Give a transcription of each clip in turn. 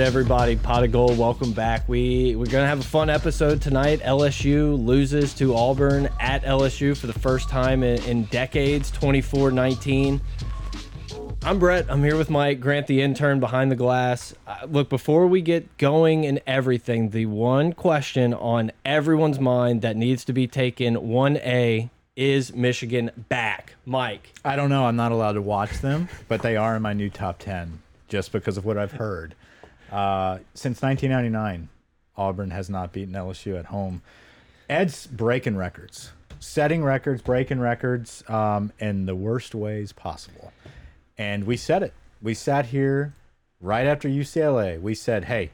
everybody? Pot of Gold, welcome back. We we're gonna have a fun episode tonight. LSU loses to Auburn at LSU for the first time in, in decades, 24-19. I'm Brett. I'm here with Mike Grant, the intern behind the glass. Uh, look, before we get going and everything, the one question on everyone's mind that needs to be taken 1A is Michigan back? Mike. I don't know. I'm not allowed to watch them, but they are in my new top 10 just because of what I've heard. Uh, since 1999, Auburn has not beaten LSU at home. Ed's breaking records, setting records, breaking records um, in the worst ways possible. And we said it. We sat here right after UCLA. We said, hey,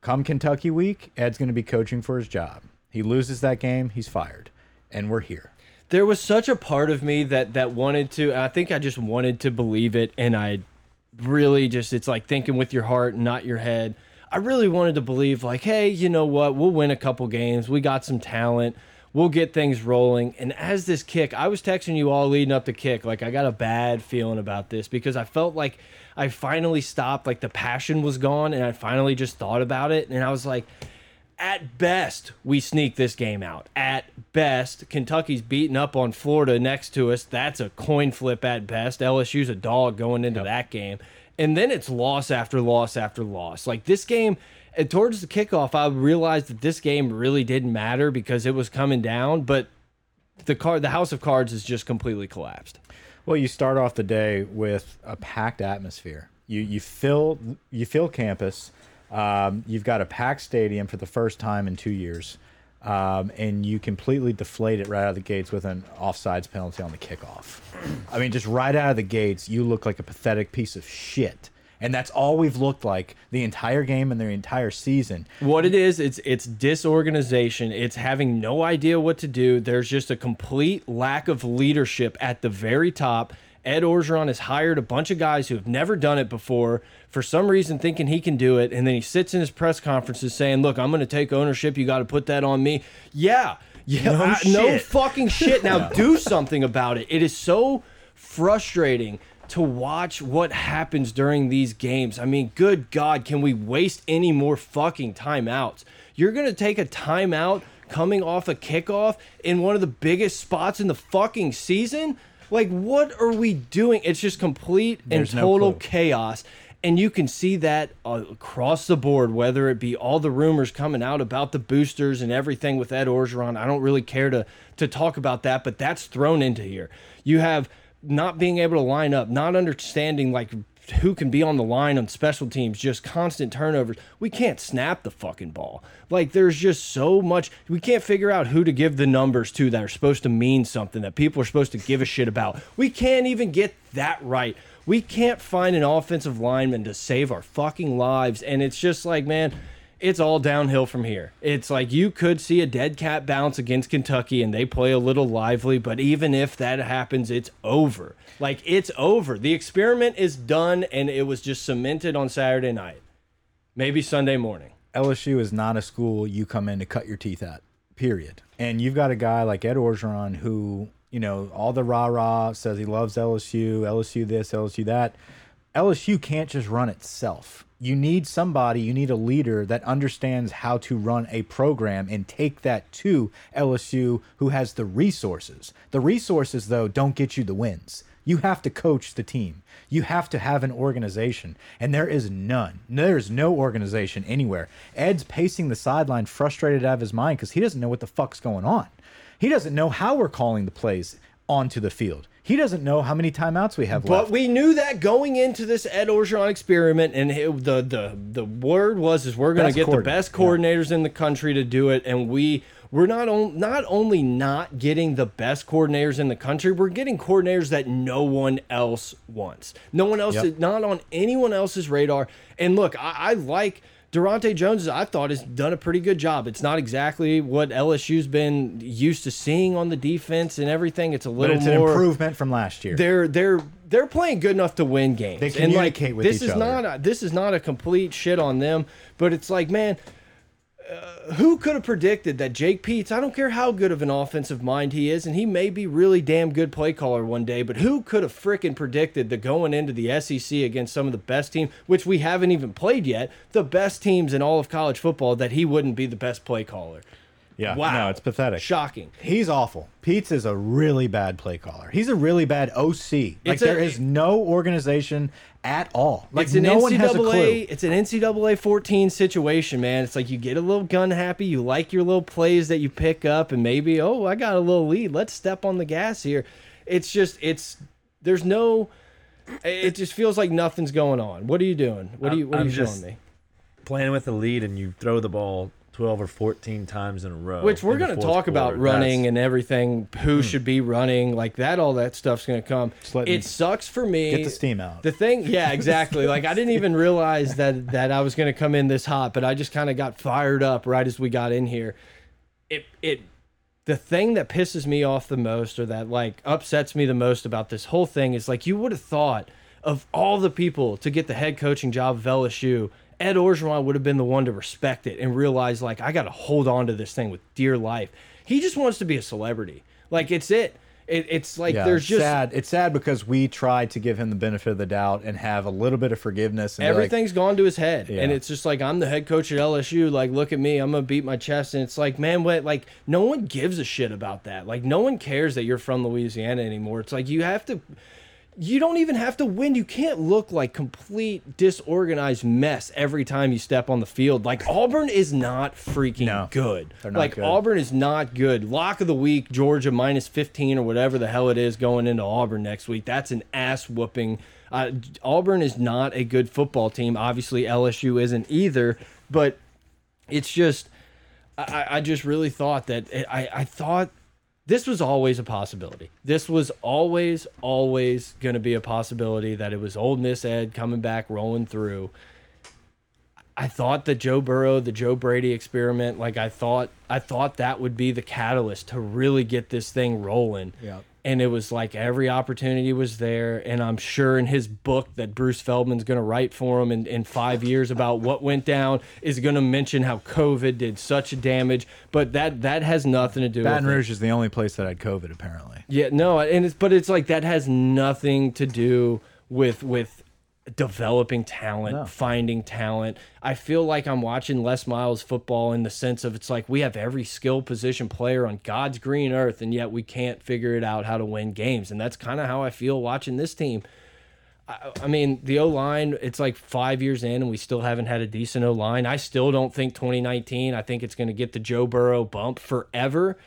come Kentucky week, Ed's going to be coaching for his job. He loses that game, he's fired. And we're here. there was such a part of me that that wanted to and i think i just wanted to believe it and i really just it's like thinking with your heart not your head i really wanted to believe like hey you know what we'll win a couple games we got some talent we'll get things rolling and as this kick i was texting you all leading up to kick like i got a bad feeling about this because i felt like i finally stopped like the passion was gone and i finally just thought about it and i was like at best, we sneak this game out. At best, Kentucky's beating up on Florida next to us. That's a coin flip at best. LSU's a dog going into that game. And then it's loss after loss after loss. Like this game, and towards the kickoff, I realized that this game really didn't matter because it was coming down, but the card the house of cards has just completely collapsed. Well, you start off the day with a packed atmosphere. You you fill you fill campus. Um, you've got a packed stadium for the first time in two years, um, and you completely deflate it right out of the gates with an offsides penalty on the kickoff. I mean, just right out of the gates, you look like a pathetic piece of shit, and that's all we've looked like the entire game and the entire season. What it is, it's it's disorganization. It's having no idea what to do. There's just a complete lack of leadership at the very top. Ed Orgeron has hired a bunch of guys who have never done it before for some reason thinking he can do it and then he sits in his press conferences saying, "Look, I'm going to take ownership. You got to put that on me." Yeah. Yeah, No I- shit. fucking shit. Now do something about it. It is so frustrating to watch what happens during these games. I mean, good God, can we waste any more fucking timeouts? You're going to take a timeout coming off a kickoff in one of the biggest spots in the fucking season? Like, what are we doing? It's just complete There's and no total clue. chaos. And you can see that uh, across the board, whether it be all the rumors coming out about the boosters and everything with Ed Orgeron. I don't really care to to talk about that, but that's thrown into here. You have not being able to line up, not understanding like who can be on the line on special teams, just constant turnovers. We can't snap the fucking ball. Like there's just so much we can't figure out who to give the numbers to that are supposed to mean something that people are supposed to give a shit about. We can't even get that right. We can't find an offensive lineman to save our fucking lives and it's just like, man, it's all downhill from here. It's like you could see a dead cat bounce against Kentucky and they play a little lively, but even if that happens, it's over. Like it's over. The experiment is done and it was just cemented on Saturday night. Maybe Sunday morning. LSU is not a school you come in to cut your teeth at, period. And you've got a guy like Ed Orgeron who, you know, all the rah rah says he loves LSU, LSU this, LSU that. LSU can't just run itself. You need somebody, you need a leader that understands how to run a program and take that to LSU who has the resources. The resources, though, don't get you the wins. You have to coach the team. You have to have an organization, and there is none. There is no organization anywhere. Ed's pacing the sideline, frustrated out of his mind because he doesn't know what the fuck's going on. He doesn't know how we're calling the plays onto the field. He doesn't know how many timeouts we have left. But we knew that going into this Ed Orgeron experiment, and it- the the the word was is we're going to Best get the coordinator, best yeah. coordinators in the country to do it, and we we're not on, not only not getting the best coordinators in the country, we're getting coordinators that no one else wants. No one else, Yep. is not on anyone else's radar. And look, I, I like. Durante Jones, I thought, has done a pretty good job. It's not exactly what LSU's been used to seeing on the defense and everything. It's a But little it's an more improvement from last year. they're they're they're playing good enough to win games. They and like communicate with this each is other. not a, this is not a complete shit on them, but it's like man, uh, who could have predicted that Jake Peets, I don't care how good of an offensive mind he is, and he may be really damn good play caller one day, but who could have frickin' predicted that going into the SEC against some of the best teams, which we haven't even played yet, the best teams in all of college football, that he wouldn't be the best play caller? Yeah. Wow. No, it's pathetic. Shocking. He's awful. Pete's is a really bad play caller. He's a really bad OC. Like It's a- there is no organization at all. Like It's an no NCAA, one has a clue. it's an NCAA 14 situation, man. It's like you get a little gun happy, you like your little plays that you pick up, and maybe oh, I got a little lead. Let's step on the gas here. It's just it's there's no. It just feels like nothing's going on. What are you doing? What are you What are I'm you just- showing me? playing with the lead and you throw the ball 12 or 14 times in a row. Which we're in the going to fourth talk about quarter. running That's- and everything, who should be running, like that, all that stuff's going to come. Hmm. let me- It sucks for me. Get the steam out. The thing, yeah, exactly. like I didn't even realize that that I was going to come in this hot, but I just kind of got fired up right as we got in here. It it the thing that pisses me off the most or that like upsets me the most about this whole thing is like you would have thought of all the people to get the head coaching job of LSU, Ed Orgeron would have been the one to respect it and realize like I got to hold on to this thing with dear life. He just wants to be a celebrity. Like it's it. it it's like Yeah, there's it's just sad. It's sad because we tried to give him the benefit of the doubt and have a little bit of forgiveness. And be like, Everything's gone to his head, and Yeah. it's just like I'm the head coach at LSU. Like, look at me, I'm gonna beat my chest, and it's like, man, what? Like, no one gives a shit about that. Like, no one cares that you're from Louisiana anymore. It's like you have to. You don't even have to win. You can't look like complete disorganized mess every time you step on the field. Like Auburn is not freaking No, good. they're not like good. Auburn is not good. Lock of the week, Georgia minus 15 or whatever the hell it is going into Auburn next week. That's an ass whooping. Uh, Auburn is not a good football team. Obviously, LSU isn't either, but it's just, I, I- I just really thought that, I, I thought this was always a possibility. This was always, always going to be a possibility that it was Old Miss Ed coming back, rolling through. I thought the Joe Burrow, the Joe Brady experiment, like I thought, I thought that would be the catalyst to really get this thing rolling. Yep. And it was like every opportunity was there. And I'm sure in his book that Bruce Feldman's going to write for him in, in five years about what went down is going to mention how COVID did such damage. But that that has nothing to do Baton with it. Rouge is the only place that had COVID apparently. Yeah, no, and it's but it's like that has nothing to do with with developing talent, finding talent. I feel like I'm watching Les Miles football in the sense of it's like we have every skill position player on God's green earth and yet we can't figure it out how to win games. And that's kind of how I feel watching this team. I mean, the O line, it's like five years in and we still haven't had a decent O line. I still don't think 2019, I think it's going to get the Joe Burrow bump forever.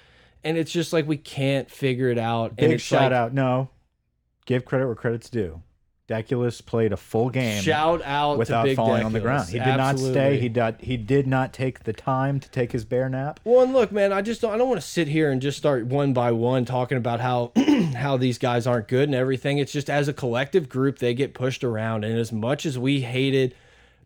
And it's just like we can't figure it out. and Big it's like, shout out. No, give credit where credit's due. Deculus played a full game Shout out without to Big falling on the Deculus. ground. He did not stay. Absolutely. He did. He did not take the time to take his bear nap. Well, and look, man, I just don't, I don't want to sit here and just start one by one talking about how how these guys aren't good and everything. It's just as a collective group, they get pushed around. And as much as we hated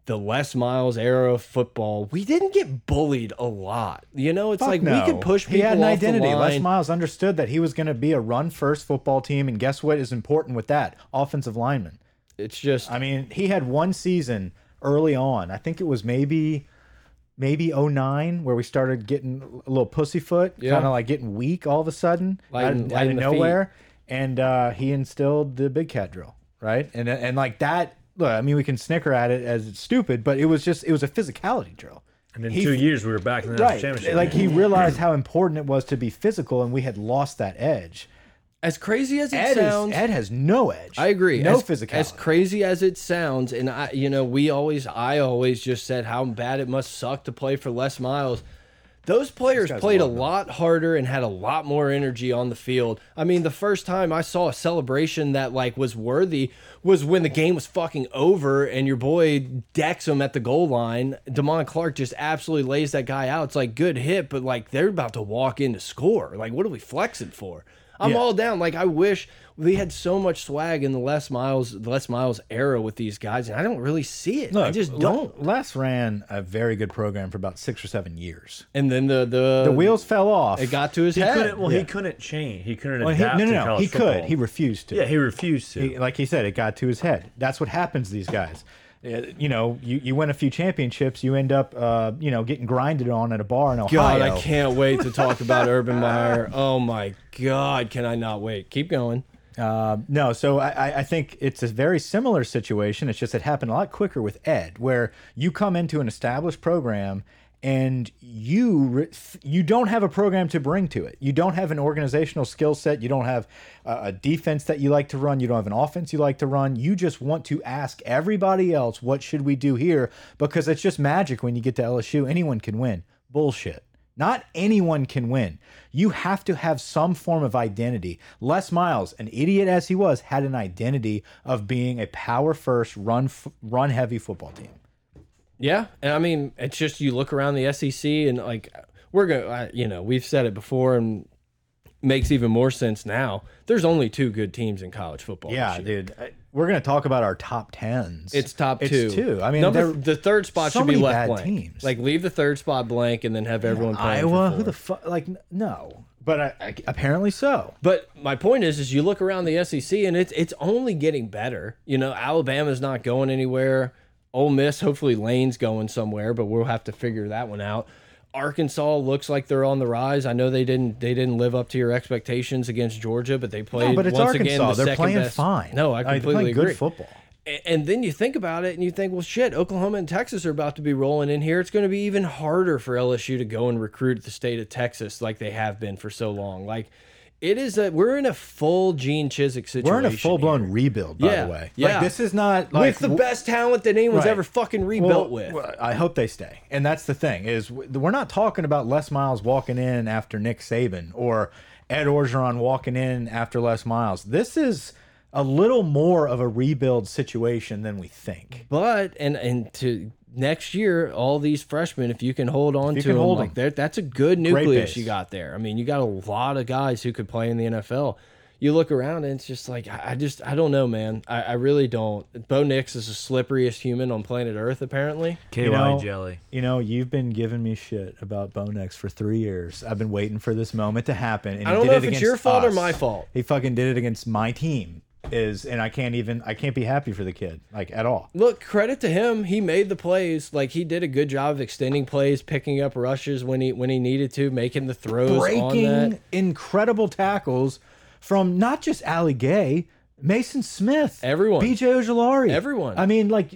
the Les Miles era of football, we didn't get bullied a lot. You know, it's like no. we could push people He had an off identity. the line. Les Miles understood that he was going to be a run-first football team, and guess what is important with that? Offensive lineman. it's just I mean, he had one season early on. I think it was maybe maybe 09 where we started getting a little pussyfoot, Yeah. kind of like getting weak all of a sudden Lighten- out, of- out lighten of the nowhere. And uh, he instilled the big cat drill, right? And and like that, look, I mean, we can snicker at it as it's stupid, but it was just it was a physicality drill. And in He- two years, we were back in the national Right, championship. like he realized how important it was to be physical, and we had lost that edge. as crazy as it Ed, sounds. is, Ed has no edge. I agree. No as, physicality. As crazy as it sounds, and I, you know, we always, I always just said how bad it must suck to play for Les Miles. Those players guy's played a a lot, lot harder and had a lot more energy on the field. I mean, the first time I saw a celebration that like was worthy was when the game was fucking over and your boy decks him at the goal line. Damon Clark just absolutely lays that guy out. It's like good hit, but like they're about to walk in to score. Like what are we flexing for? I'm Yeah. all down. Like I wish we had so much swag in the Les Miles, the Les Miles era with these guys, and I don't really see it. I just Le- don't. Les ran a very good program for about six or seven years. And then the the, The wheels fell off. it got to his he head. couldn't, well, Yeah. he couldn't change. He couldn't Well, he, no, adapt no, to no. college He could. football. He refused to. yeah, he refused to. He- like he said, it got to his head. That's what happens to these guys. uh, you know, you, you win a few championships, you end up, uh, you know, getting grinded on at a bar in Ohio. God, I can't wait to talk about Urban Meyer. Oh my God, can I not wait? Keep going. Uh, no, so I, I- I think it's a very similar situation. It's just it happened a lot quicker with Ed, where you come into an established program and you re- th- you don't have a program to bring to it. You don't have an organizational skill set. You don't have a, a defense that you like to run. You don't have an offense you like to run. You just want to ask everybody else, "What should we do here?" Because it's just magic when you get to LSU. Anyone can win. Bullshit. Not anyone can win. You have to have some form of identity. Les Miles, an idiot as he was, had an identity of being a power first, run f run heavy football team. Yeah, and I mean, it's just you look around the SEC and like we're going, to you know, we've said it before and makes even more sense now. There's only two good teams in college football. this Yeah, year. dude. I- We're gonna talk about our top tens. it's top It's two. two. I mean, Number, they're- the third spot so should be many left bad blank. teams. Like leave the third spot blank and then have everyone playing for Iowa. Who fourth. the fuck? Like n- no. But I, I, apparently so. But my point is, is you look around the SEC and it's it's only getting better. You know, Alabama's not going anywhere. Ole Miss, hopefully Lane's going somewhere, but we'll have to figure that one out. Arkansas looks like they're on the rise. I know they didn't they didn't live up to your expectations against Georgia, but they played. No, but it's once Arkansas. Again, the they're second playing best- fine. No, I Like, they're completely playing agree. Good football. A- And then you think about it and you think, well, shit, Oklahoma and Texas are about to be rolling in here. It's going to be even harder for LSU to go and recruit the state of Texas like they have been for so long. Like, it is a, we're in a full Gene Chiswick situation. We're in a full blown rebuild, by Yeah, the way. yeah. Like this is not here. like with the w- best talent that anyone's Right. ever fucking Well, rebuilt with. well, I hope they stay. And that's the thing is w- we're not talking about Les Miles walking in after Nick Saban or Ed Orgeron walking in after Les Miles. This is a little more of a rebuild situation than we think. But and and to next year, all these freshmen, if you can hold on you to can them, hold like them. that- that's a good nucleus base. you got there. I mean, you got a lot of guys who could play in the NFL. You look around and it's just like I I just I don't know, man. I, I really don't. Bo Nix is the slipperiest human on planet Earth, apparently. KY You know, jelly. You know, you've been giving me shit about Bonex for three years. I've been waiting for this moment to happen. And I he don't did know it if it's against your fault or us. my fault. He fucking did it against my team. Is and I can't even I can't be happy for the kid like at all. Look, credit to him. He made the plays. Like he did a good job of extending plays, picking up rushes when he when he needed to, making the throws on that. breaking incredible tackles from not just Ali Gay, Mason Smith, Everyone. BJ Ojolari, Everyone. I mean, like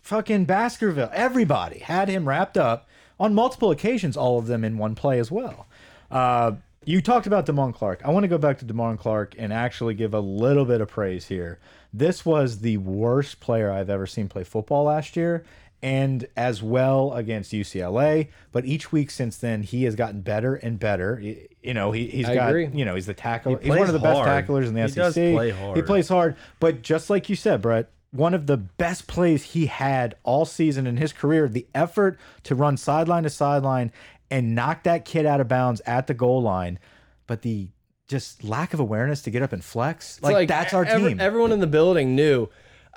fucking Baskerville. Everybody had him wrapped up on multiple occasions. All of them in one play as well. Uh, you talked about Demond Clark. I want to go back to Demond Clark and actually give a little bit of praise here. This was the worst player I've ever seen play football last year, and as well against UCLA. But each week since then, he has gotten better and better. Y- You know, he, he's I got agree. you know he's the tackle. he's plays one of the best hard. tacklers in the He SEC. does play He hard. plays hard, but just like you said, Brett. One of the best plays he had all season in his career, the effort to run sideline to sideline and knock that kid out of bounds at the goal line, but the just lack of awareness to get up and flex. Like, that's our ev- team. Everyone in the building knew.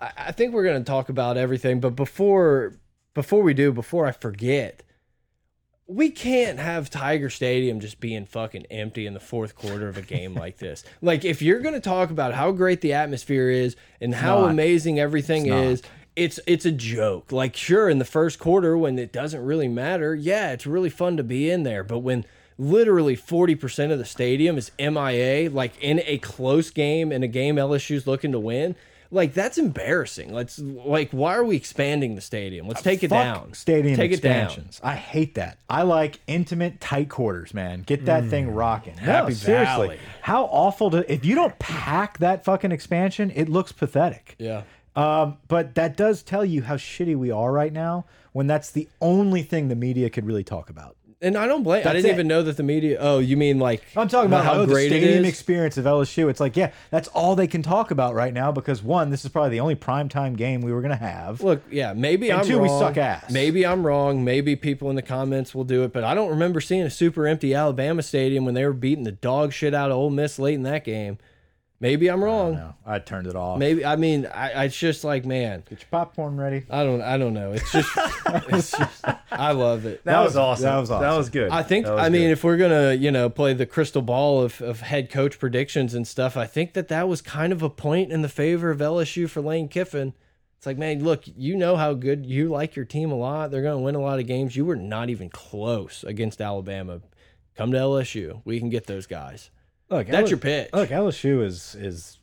I, I think we're going to talk about everything, but before before we do, before I forget, we can't have Tiger Stadium just being fucking empty in the fourth quarter of a game like this. Like if you're going to talk about how great the atmosphere is and how not. amazing everything It's not. is, it's it's a joke. Like sure in the first quarter when it doesn't really matter, yeah, it's really fun to be in there, but when literally 40% of the stadium is MIA like in a close game in a game LSU's looking to win, like that's embarrassing. Let's like why are we expanding the stadium? Let's take it Uh, Fuck down. Stadium take it down. expansions. I hate that. I like intimate, tight quarters, man. Get that thing Mm. rocking. Happy no, seriously. Valley. How awful to if you don't pack that fucking expansion, it looks pathetic. Yeah. Um, but that does tell you how shitty we are right now when that's the only thing the media could really talk about. And I don't blame. I That's didn't it. even know that the media. Oh, you mean like I'm talking about how oh, great the it stadium is? experience of LSU. It's like, yeah, that's all they can talk about right now because one, this is probably the only primetime game we were gonna have. Look, yeah, maybe And I'm two, wrong. we suck ass. Maybe I'm wrong. Maybe people in the comments will do it, but I don't remember seeing a super empty Alabama stadium when they were beating the dog shit out of Ole Miss late in that game. Maybe I'm wrong. No, I turned it off. Maybe I mean I, I. It's just like man, Get your popcorn ready. I don't. I don't know. It's just. it's just. I love it. That, was awesome. that was awesome. That was good. I think That was I mean good. if we're gonna you know play the crystal ball of, of head coach predictions and stuff, I think that that was kind of a point in the favor of LSU for Lane Kiffin. It's like, man, look, you know how good you like your team a lot. They're going to win a lot of games. You were not even close against Alabama. Come to LSU. We can get those guys. Look, That's L- your pitch. Look, LSU is is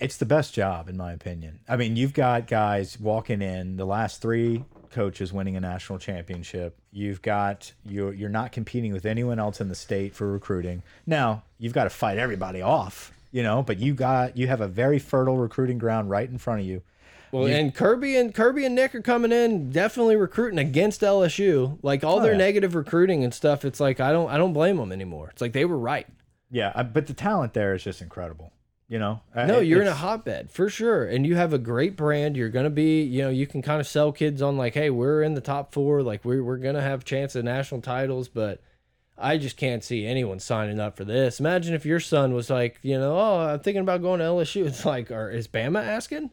it's the best job in my opinion. I mean, you've got guys walking in the last three coaches winning a national championship. You've got you're you're not competing with anyone else in the state for recruiting. Now you've got to fight everybody off, you know. But you got you have a very fertile recruiting ground right in front of you. Well, and Kirby and Kirby and Nick are coming in, definitely recruiting against LSU. Like all their yeah. negative recruiting and stuff. It's like I don't, I don't blame them anymore. It's like they were right. Yeah, I- but the talent there is just incredible. You know, I- No, you're in a it's- hotbed for sure, and you have a great brand. You're gonna be, you know, you can kind of sell kids on like, hey, we're in the top four, like we're we're gonna have chance at national titles, but I just can't see anyone signing up for this. Imagine if your son was like, you know, oh, I'm thinking about going to LSU. It's like, or is Bama asking?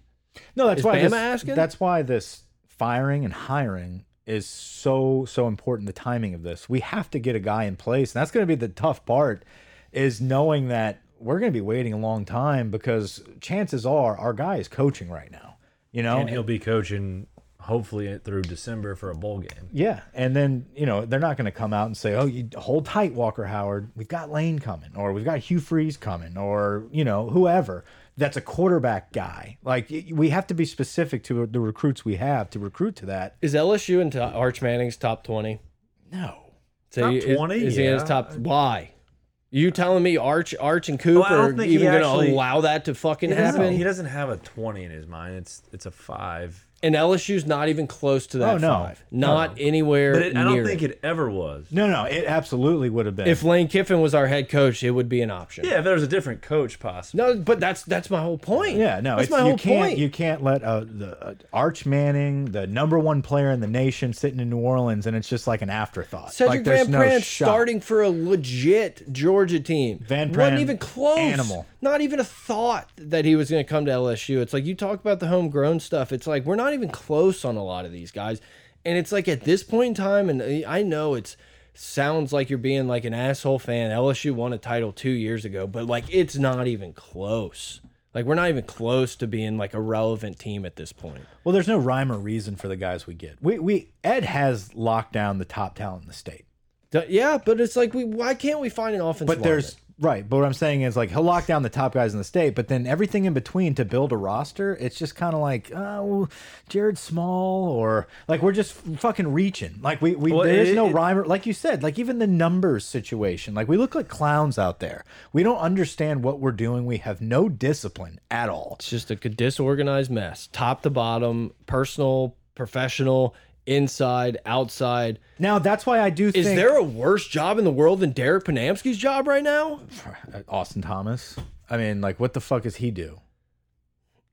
No, that's Is why Bama this, asking? That's why this firing and hiring is so so important. The timing of this, we have to get a guy in place, and that's going to be the tough part, is knowing that we're going to be waiting a long time because chances are our guy is coaching right now. You know, and he'll be coaching hopefully through December for a bowl game. yeah, and then you know they're not going to come out and say, "Oh, you hold tight, Walker Howard. We've got Lane coming, or we've got Hugh Freeze coming, or you know whoever." That's a quarterback guy. Like y- we have to be specific to the recruits we have to recruit to that. Is LSU into Arch Manning's top twenty? No, So Top you- is- 20? Is he in his Yeah. top? Why? You telling me Arch, Arch and Coop Well, I don't are think he even going actually- to allow that to fucking He doesn't, he happen? doesn't have a twenty in his mind. It's it's a five. And LSU's not even close to that Oh, no. five. Not anywhere. But it, I don't near think it. it. ever was. no, no. It absolutely would have been. If Lane Kiffin was our head coach, it would be an option. Yeah, if there was a different coach, possibly. No, but that's that's my whole point. yeah, no. that's it's, my you whole can't, point. You can't let uh, the uh, Arch Manning, the number one player in the nation, sitting in New Orleans, and it's just like an afterthought. Cedric like, there's Van no Prant shot. starting for a legit Georgia team. Van wasn't Prant, even close. animal. Not even a thought that he was going to come to LSU. It's like you talk about the homegrown stuff. It's like we're not even close on a lot of these guys, and it's like at this point in time, and I know it's sounds like you're being like an asshole fan. LSU won a title two years ago, but like it's not even close. Like we're not even close to being like a relevant team at this point. Well, there's no rhyme or reason for the guys we get. We we Ed has locked down the top talent in the state, D- Yeah, but it's like we why can't we find an offense? but there's right. But what I'm saying is like he'll lock down the top guys in the state, but then everything in between to build a roster, it's just kind of like oh, Jared Small or like we're just fucking reaching. Like we we Well, there is it- no it- rhyme or like you said. Like even the numbers situation, like we look like clowns out there. We don't understand what we're doing. We have no discipline at all. It's just a good disorganized mess, top to bottom, personal, professional, inside, outside. Now that's why I do Is think there a worse job in the world than Derek Panamsky's job right now? Uh, Austin Thomas. I mean, like, what the fuck does he do?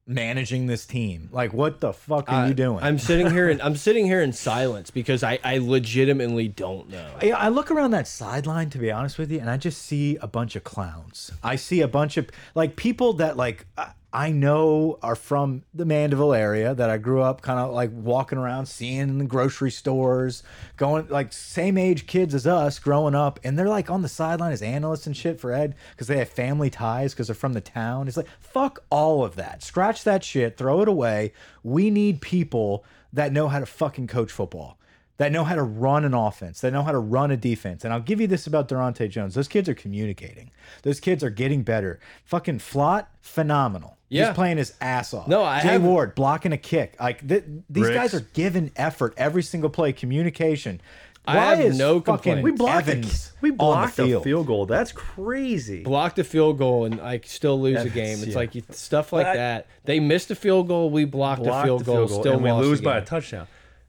Managing this team. Like, what the fuck are you doing? I'm sitting here and I'm sitting here in silence because I, I legitimately don't know. I, I look around that sideline, to be honest with you, and I just see a bunch of clowns. I see a bunch of, like, people that, like, I, I know are from the Mandeville area that I grew up kind of, like, walking around, seeing in the grocery stores, going, like, same age kids as us growing up. And they're, like, on the sideline as analysts and shit for Ed because they have family ties because they're from the town. It's like, fuck all of that. Scratch that shit, throw it away. We need people that know how to fucking coach football that know how to run an offense, that know how to run a defense. And I'll give you this about Durante Jones. Those kids are communicating. Those kids are getting better. Fucking Flott, phenomenal. Yeah. He's playing his ass off. No, I Jay have- Ward blocking a kick. Like th these Ricks. guys are giving effort every single play. Communication. I have no fucking complaints. We blocked Evans, Evans. we on the blocked a field. field goal. That's crazy. Blocked a field goal and I still lose a game. It's yeah. like you, stuff like But I- that. They missed a field goal. We blocked, blocked a field goal. still and we lost the lose by a game. touchdown.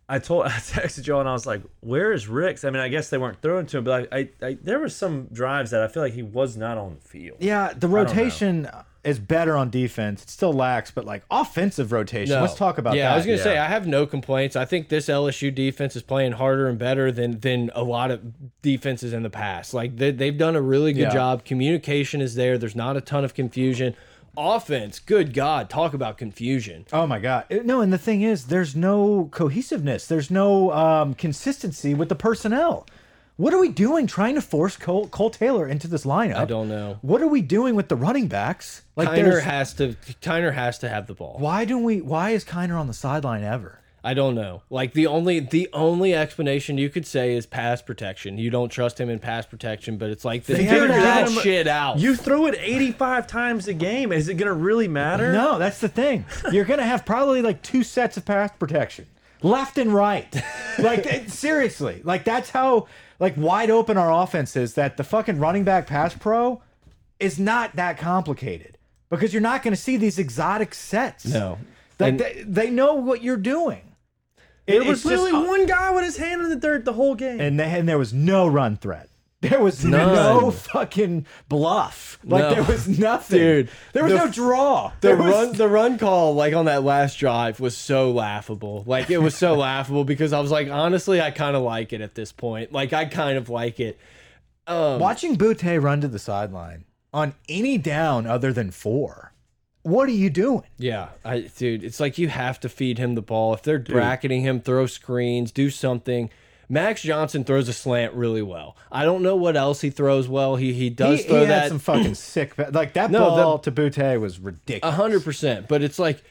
I told I texted Joe and I was like, "Where is Ricks?" I mean, I guess they weren't throwing to him, but I, I, I there were some drives that I feel like he was not on the field. Yeah, the know. rotation is better on defense. It still lacks, but like offensive rotation. Let's talk about yeah, that. I was gonna Yeah. say I have no complaints. I think this LSU defense is playing harder and better than than a lot of defenses in the past. Like they, they've done a really good Yeah. job. Communication is there. There's not a ton of confusion. Offense, good God, talk about confusion. Oh my god! Uh, No, and the thing is, there's no cohesiveness. There's no um, consistency with the personnel. What are we doing trying to force Cole, Cole Taylor into this lineup? I don't know. What are we doing with the running backs? Like, Tyner there's, has to Tyner has to have the ball. why don't we? Why is Kiner on the sideline ever? I don't know. Like the only the only explanation you could say is pass protection. You don't trust him in pass protection, but it's like this, figure haven't that given him- shit out. You throw it 85 times a game. Is it going to really matter? No, that's the thing. You're gonna have probably like two sets of pass protection, left and right. Like it- seriously, like that's how like wide open our offense is. That the fucking running back pass pro is not that complicated because you're not gonna see these exotic sets. no. like And- they, they know what you're doing. It It- was it's just- literally one guy with his hand in the dirt the whole game. and they, and there was no run threat. There was no None. fucking bluff. Like No. there was nothing, Dude, There was the- no draw. the there was run the run call like on that last drive was so laughable like it was so laughable because i was like honestly i kind of like it at this point like i kind of like it um Watching Butte run to the sideline on any down other than four, what are you doing? yeah i dude it's like you have to feed him the ball if they're bracketing him throw screens do something Max Johnson throws a slant really well. I don't know what else he throws well. He he does He, he throw had that some fucking sick. pa- Like that No, the- ball to Butte was ridiculous. A hundred percent. But it's like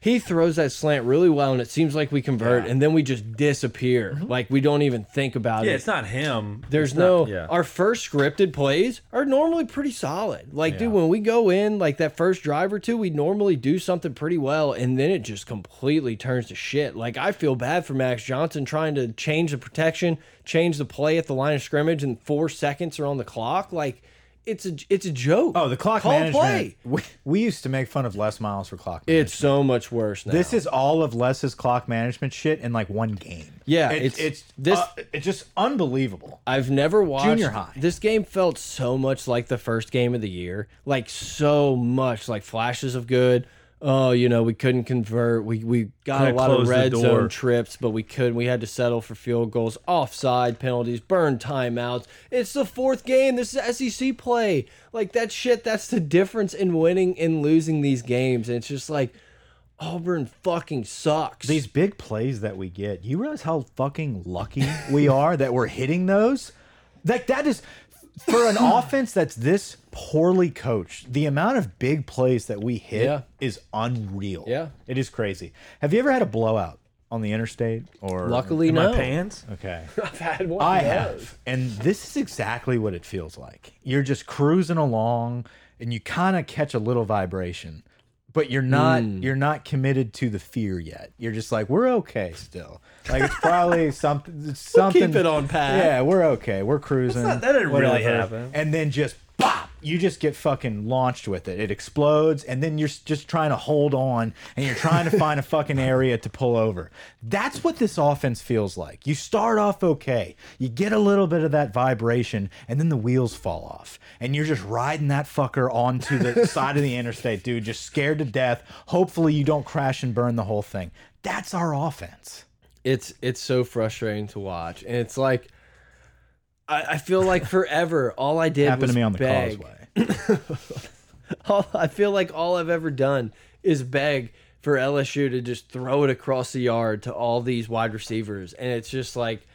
he throws that slant really well, and it seems like we convert, and then we just disappear. Like we don't even think about yeah, it. it's not him. There's It's no not- yeah. our first scripted plays are normally pretty solid. Like, dude, when we go in like that first drive or two, we normally do something pretty well, and then it just completely turns to shit. Like, I feel bad for Max Johnson trying to change the protection, change the play at the line of scrimmage, and four seconds are on the clock. Like, it's a it's a joke. oh, the clock Call management. Play. We, we used to make fun of Les Miles for clock. management. It's so much worse now. this is all of Les's clock management shit in like one game. Yeah, It- it's- it's this- uh, it's just unbelievable. I've never watched Junior high. This game felt so much like the first game of the year, like so much like flashes of good. Oh, you know, we couldn't convert. We we got Kinda a lot of closed the red zone door. trips, but we couldn't. We had to settle for field goals, offside penalties, burn timeouts. It's the fourth game. This is SEC play. Like that shit. That's the difference in winning and losing these games. And it's just like Auburn fucking sucks. These big plays that we get, you realize how fucking lucky we are that we're hitting those? Like that is for an offense that's this poorly coached, the amount of big plays that we hit Yeah. is unreal. Yeah. It is crazy. Have you ever had a blowout on the interstate or luckily In no. my pants. Okay. I've had one. I no. have. And this is exactly what it feels like. You're just cruising along and you kind of catch a little vibration, but you're not Hmm. you're not committed to the fear yet. You're just like, we're okay still. Like it's probably something it's something it on path. Yeah, we're okay. We're cruising. not- that didn't really whatever. happen. And then just bop, you just get fucking launched with it. It explodes, and then you're s- just trying to hold on, and you're trying to find a fucking area to pull over. That's what this offense feels like. You start off okay, you get a little bit of that vibration, and then the wheels fall off, and you're just riding that fucker onto the side of the interstate, dude, just scared to death. Hopefully, you don't crash and burn the whole thing. That's our offense. it's it's so frustrating to watch and it's like i, I feel like forever all i did Happened was to me on the beg. causeway. all, i feel like all i've ever done is beg for lsu to just throw it across the yard to all these wide receivers and it's just like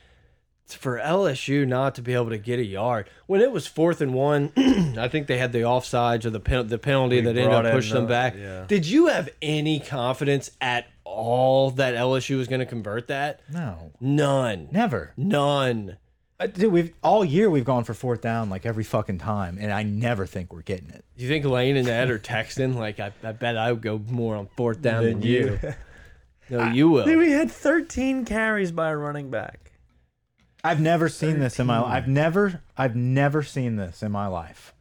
for LSU not to be able to get a yard when it was fourth and one, I think they had the offsides or the pen the penalty that ended brought up in pushing them the- back. yeah. Did you have any confidence at all that LSU was going to convert that? No, None. never. None. Uh, Dude, we've all year we've gone for fourth down like every fucking time, and I never think we're getting it. You think Lane and Ed are texting? Like, I, I bet I would go more on fourth down than, you. No, you will. Dude, we had 13 carries by a running back. I've never seen this in my. I've never, I've never seen this in my life.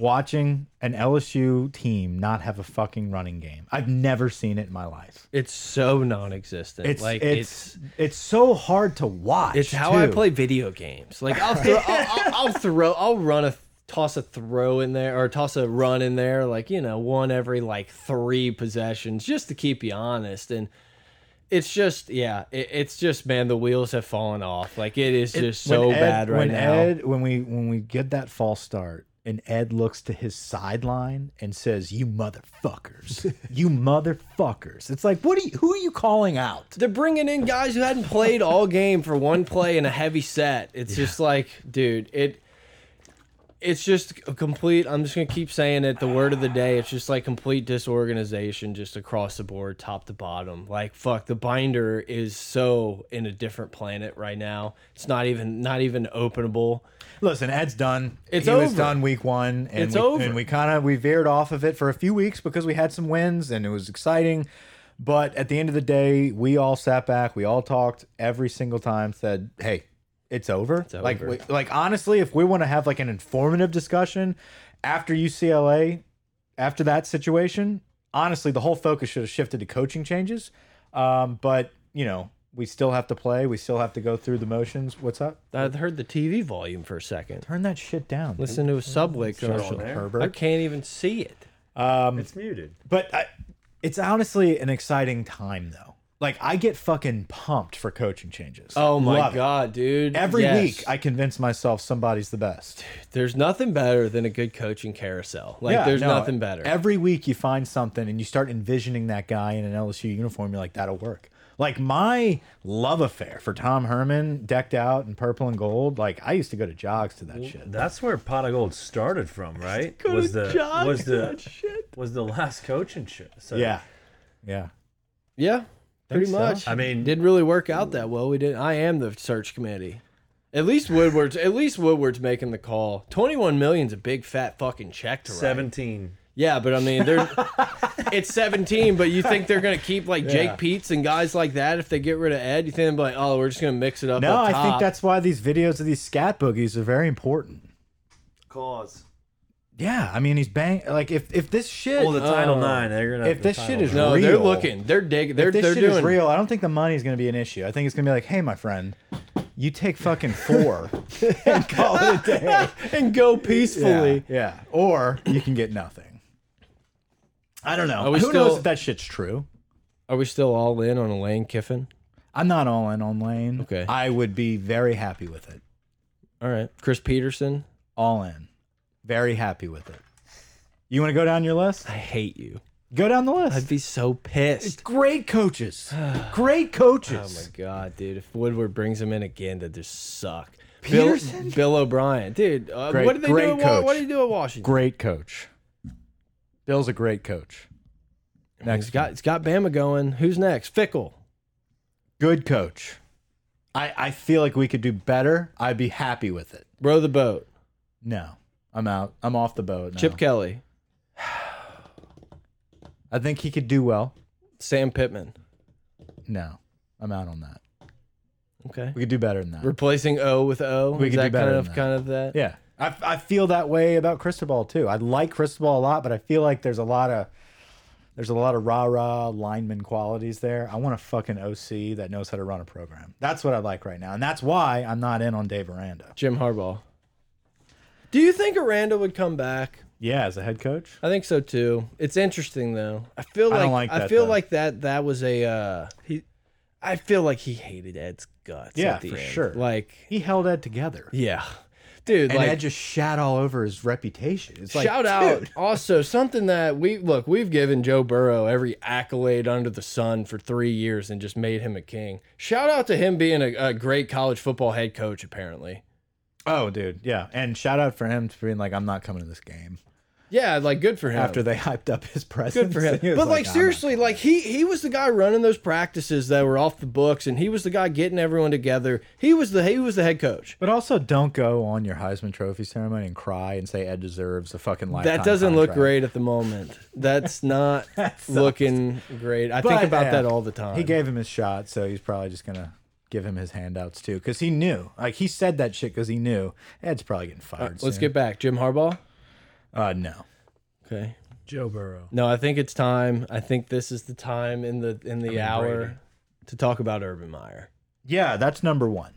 Watching an LSU team not have a fucking running game, I've never seen it in my life. It's so non-existent. It's like it's, it's it's so hard to watch. it's how I too. play video games. Like I'll throw, I'll, I'll, I'll throw, I'll run a toss a throw in there or toss a run in there. Like you know, one every like three possessions just to keep you honest. And it's just yeah, it, it's just man, the wheels have fallen off. Like it is just so When Ed- bad right when now. Ed, when we when we get that false start and Ed looks to his sideline and says, "You motherfuckers, you motherfuckers." It's like, what are you? Who are you calling out? They're bringing in guys who hadn't played all game for one play in a heavy set. It's just like, dude, it. It's just a complete. I'm just gonna keep saying it. The word of the day. It's just like complete disorganization, just across the board, top to bottom. Like fuck, the binder is so in a different planet right now. It's not even not even openable. Listen, Ed's done. It's he was over. done week one, and It's we, over. And we kind of we veered off of it for a few weeks because we had some wins and it was exciting. But at the end of the day, we all sat back, we all talked every single time, said, "Hey, it's over." Like, over. we, like honestly, if we want to have like an informative discussion after UCLA, after that situation, honestly, the whole focus should have shifted to coaching changes. Um, but you know, we still have to play. We still have to go through the motions. What's up? I heard the TV volume for a second. Turn that shit down. Listen to a subway commercial. there. Herbert. I can't even see it. Um, It's muted. But I, it's honestly an exciting time, though. Like I get fucking pumped for coaching changes. Oh my Love it. god, dude! Every Yes. week, I convince myself somebody's the best. There's nothing better than a good coaching carousel. Like there's no, nothing better. Every week, you find something and you start envisioning that guy in an LSU uniform. You're like, that'll work. Like my love affair for Tom Herman, decked out in purple and gold. Like I used to go to jogs to that shit. That's where Pot of Gold started from, right? Go was to the John was for that the shit. was the last coach and shit. So Yeah, yeah. Yeah, pretty so. much. I mean- didn't really work out that well. We didn't. I am the search committee. At least Woodward's. at least Woodward's making the call. Twenty-one million's a big fat fucking check to write. seventeen. Yeah, but I mean, they're it's seventeen. But you think they're gonna keep like Jake Peets and guys like that if they get rid of Ed? You think they're like, oh, we're just gonna mix it up? No, up I think top. that's why these videos of these scat boogies are very important. Cause Yeah, I mean he's bang like if if this shit Oh. well, the Title Nine. They're gonna. if have the this shit Title is IX. no. real, They're looking. They're digging. They're if this they're shit doing is real, I don't think the money's going to be an issue. I think it's going to be like, hey, my friend, you take fucking four and call it a day. and go Yeah, peacefully. yeah, or you can get nothing. I don't know. we Who still- knows if that shit's true? Are we still all in on Elaine Kiffin? I'm not all in on Lane. Okay. I would be very happy with it. All right, Chris Peterson. All in, very happy with it. You want to go down your list? I hate you. Go down the list. I'd be so pissed. Great coaches. Great coaches. Oh my god, dude! If Woodward brings him in again, that just suck. Peterson? Bill, Bill O'Brien, dude. Uh, Great- what did they great do? At, Wa- coach. what did he do at Washington? great coach. Bill's a great coach. It's got it's got Bama going. Who's next? Fickle. Good coach. I, I feel like we could do better. I'd be happy with it. Row the boat. Uh-huh. No, I'm out. I'm off the boat. Now. Chip Kelly. I think he could do well. Sam Pittman. No, I'm out on that. Okay. We could do better than that. Replacing O with O. We Is could do that kind better than of that. kind of that. Yeah. I, I feel that way about Cristobal too. I like Cristobal a lot, but I feel like there's a lot of there's a lot of rah rah lineman qualities there. I want a fucking OC that knows how to run a program. That's what I like right now, and that's why I'm not in on Dave Aranda. Jim Harbaugh. Do you think Aranda would come back? Yeah, as a head coach, I think so too. It's interesting though. I feel I like I, don't like that, feel though. like that that was a uh he I feel like he hated Ed's guts. Yeah, at the for end. sure. Like he held Ed together, yeah. Dude, and like Ed just shat all over his reputation. It's like shout out dude, also something that we look, we've given Joe Burrow every accolade under the sun for 3 years and just made him a king. Shout out to him being a, a great college football head coach apparently. Oh, dude, yeah, and shout out for him for being like, I'm not coming to this game Yeah, like good for him. after they hyped up his presence. good for him. He was But like, "I'm not seriously, like he he was the guy running those practices that were off the books, and he was the guy getting everyone together. He was the he was the head coach. But also, don't go on your Heisman Trophy ceremony and cry and say Ed deserves a fucking lifetime. That doesn't look contract. great at the moment. That's not sucks. looking great. I think But, about yeah, that all the time. He gave him his shot, so he's probably just gonna give him his handouts too, because he knew. Like he said that shit because he knew Ed's probably getting fired. Uh, Let's soon. get back, Jim Harbaugh. Uh, no. Okay. Joe Burrow. No, I think it's time. I think this is the time in the in the hour Brady. to talk about Urban Meyer. Yeah, that's number one.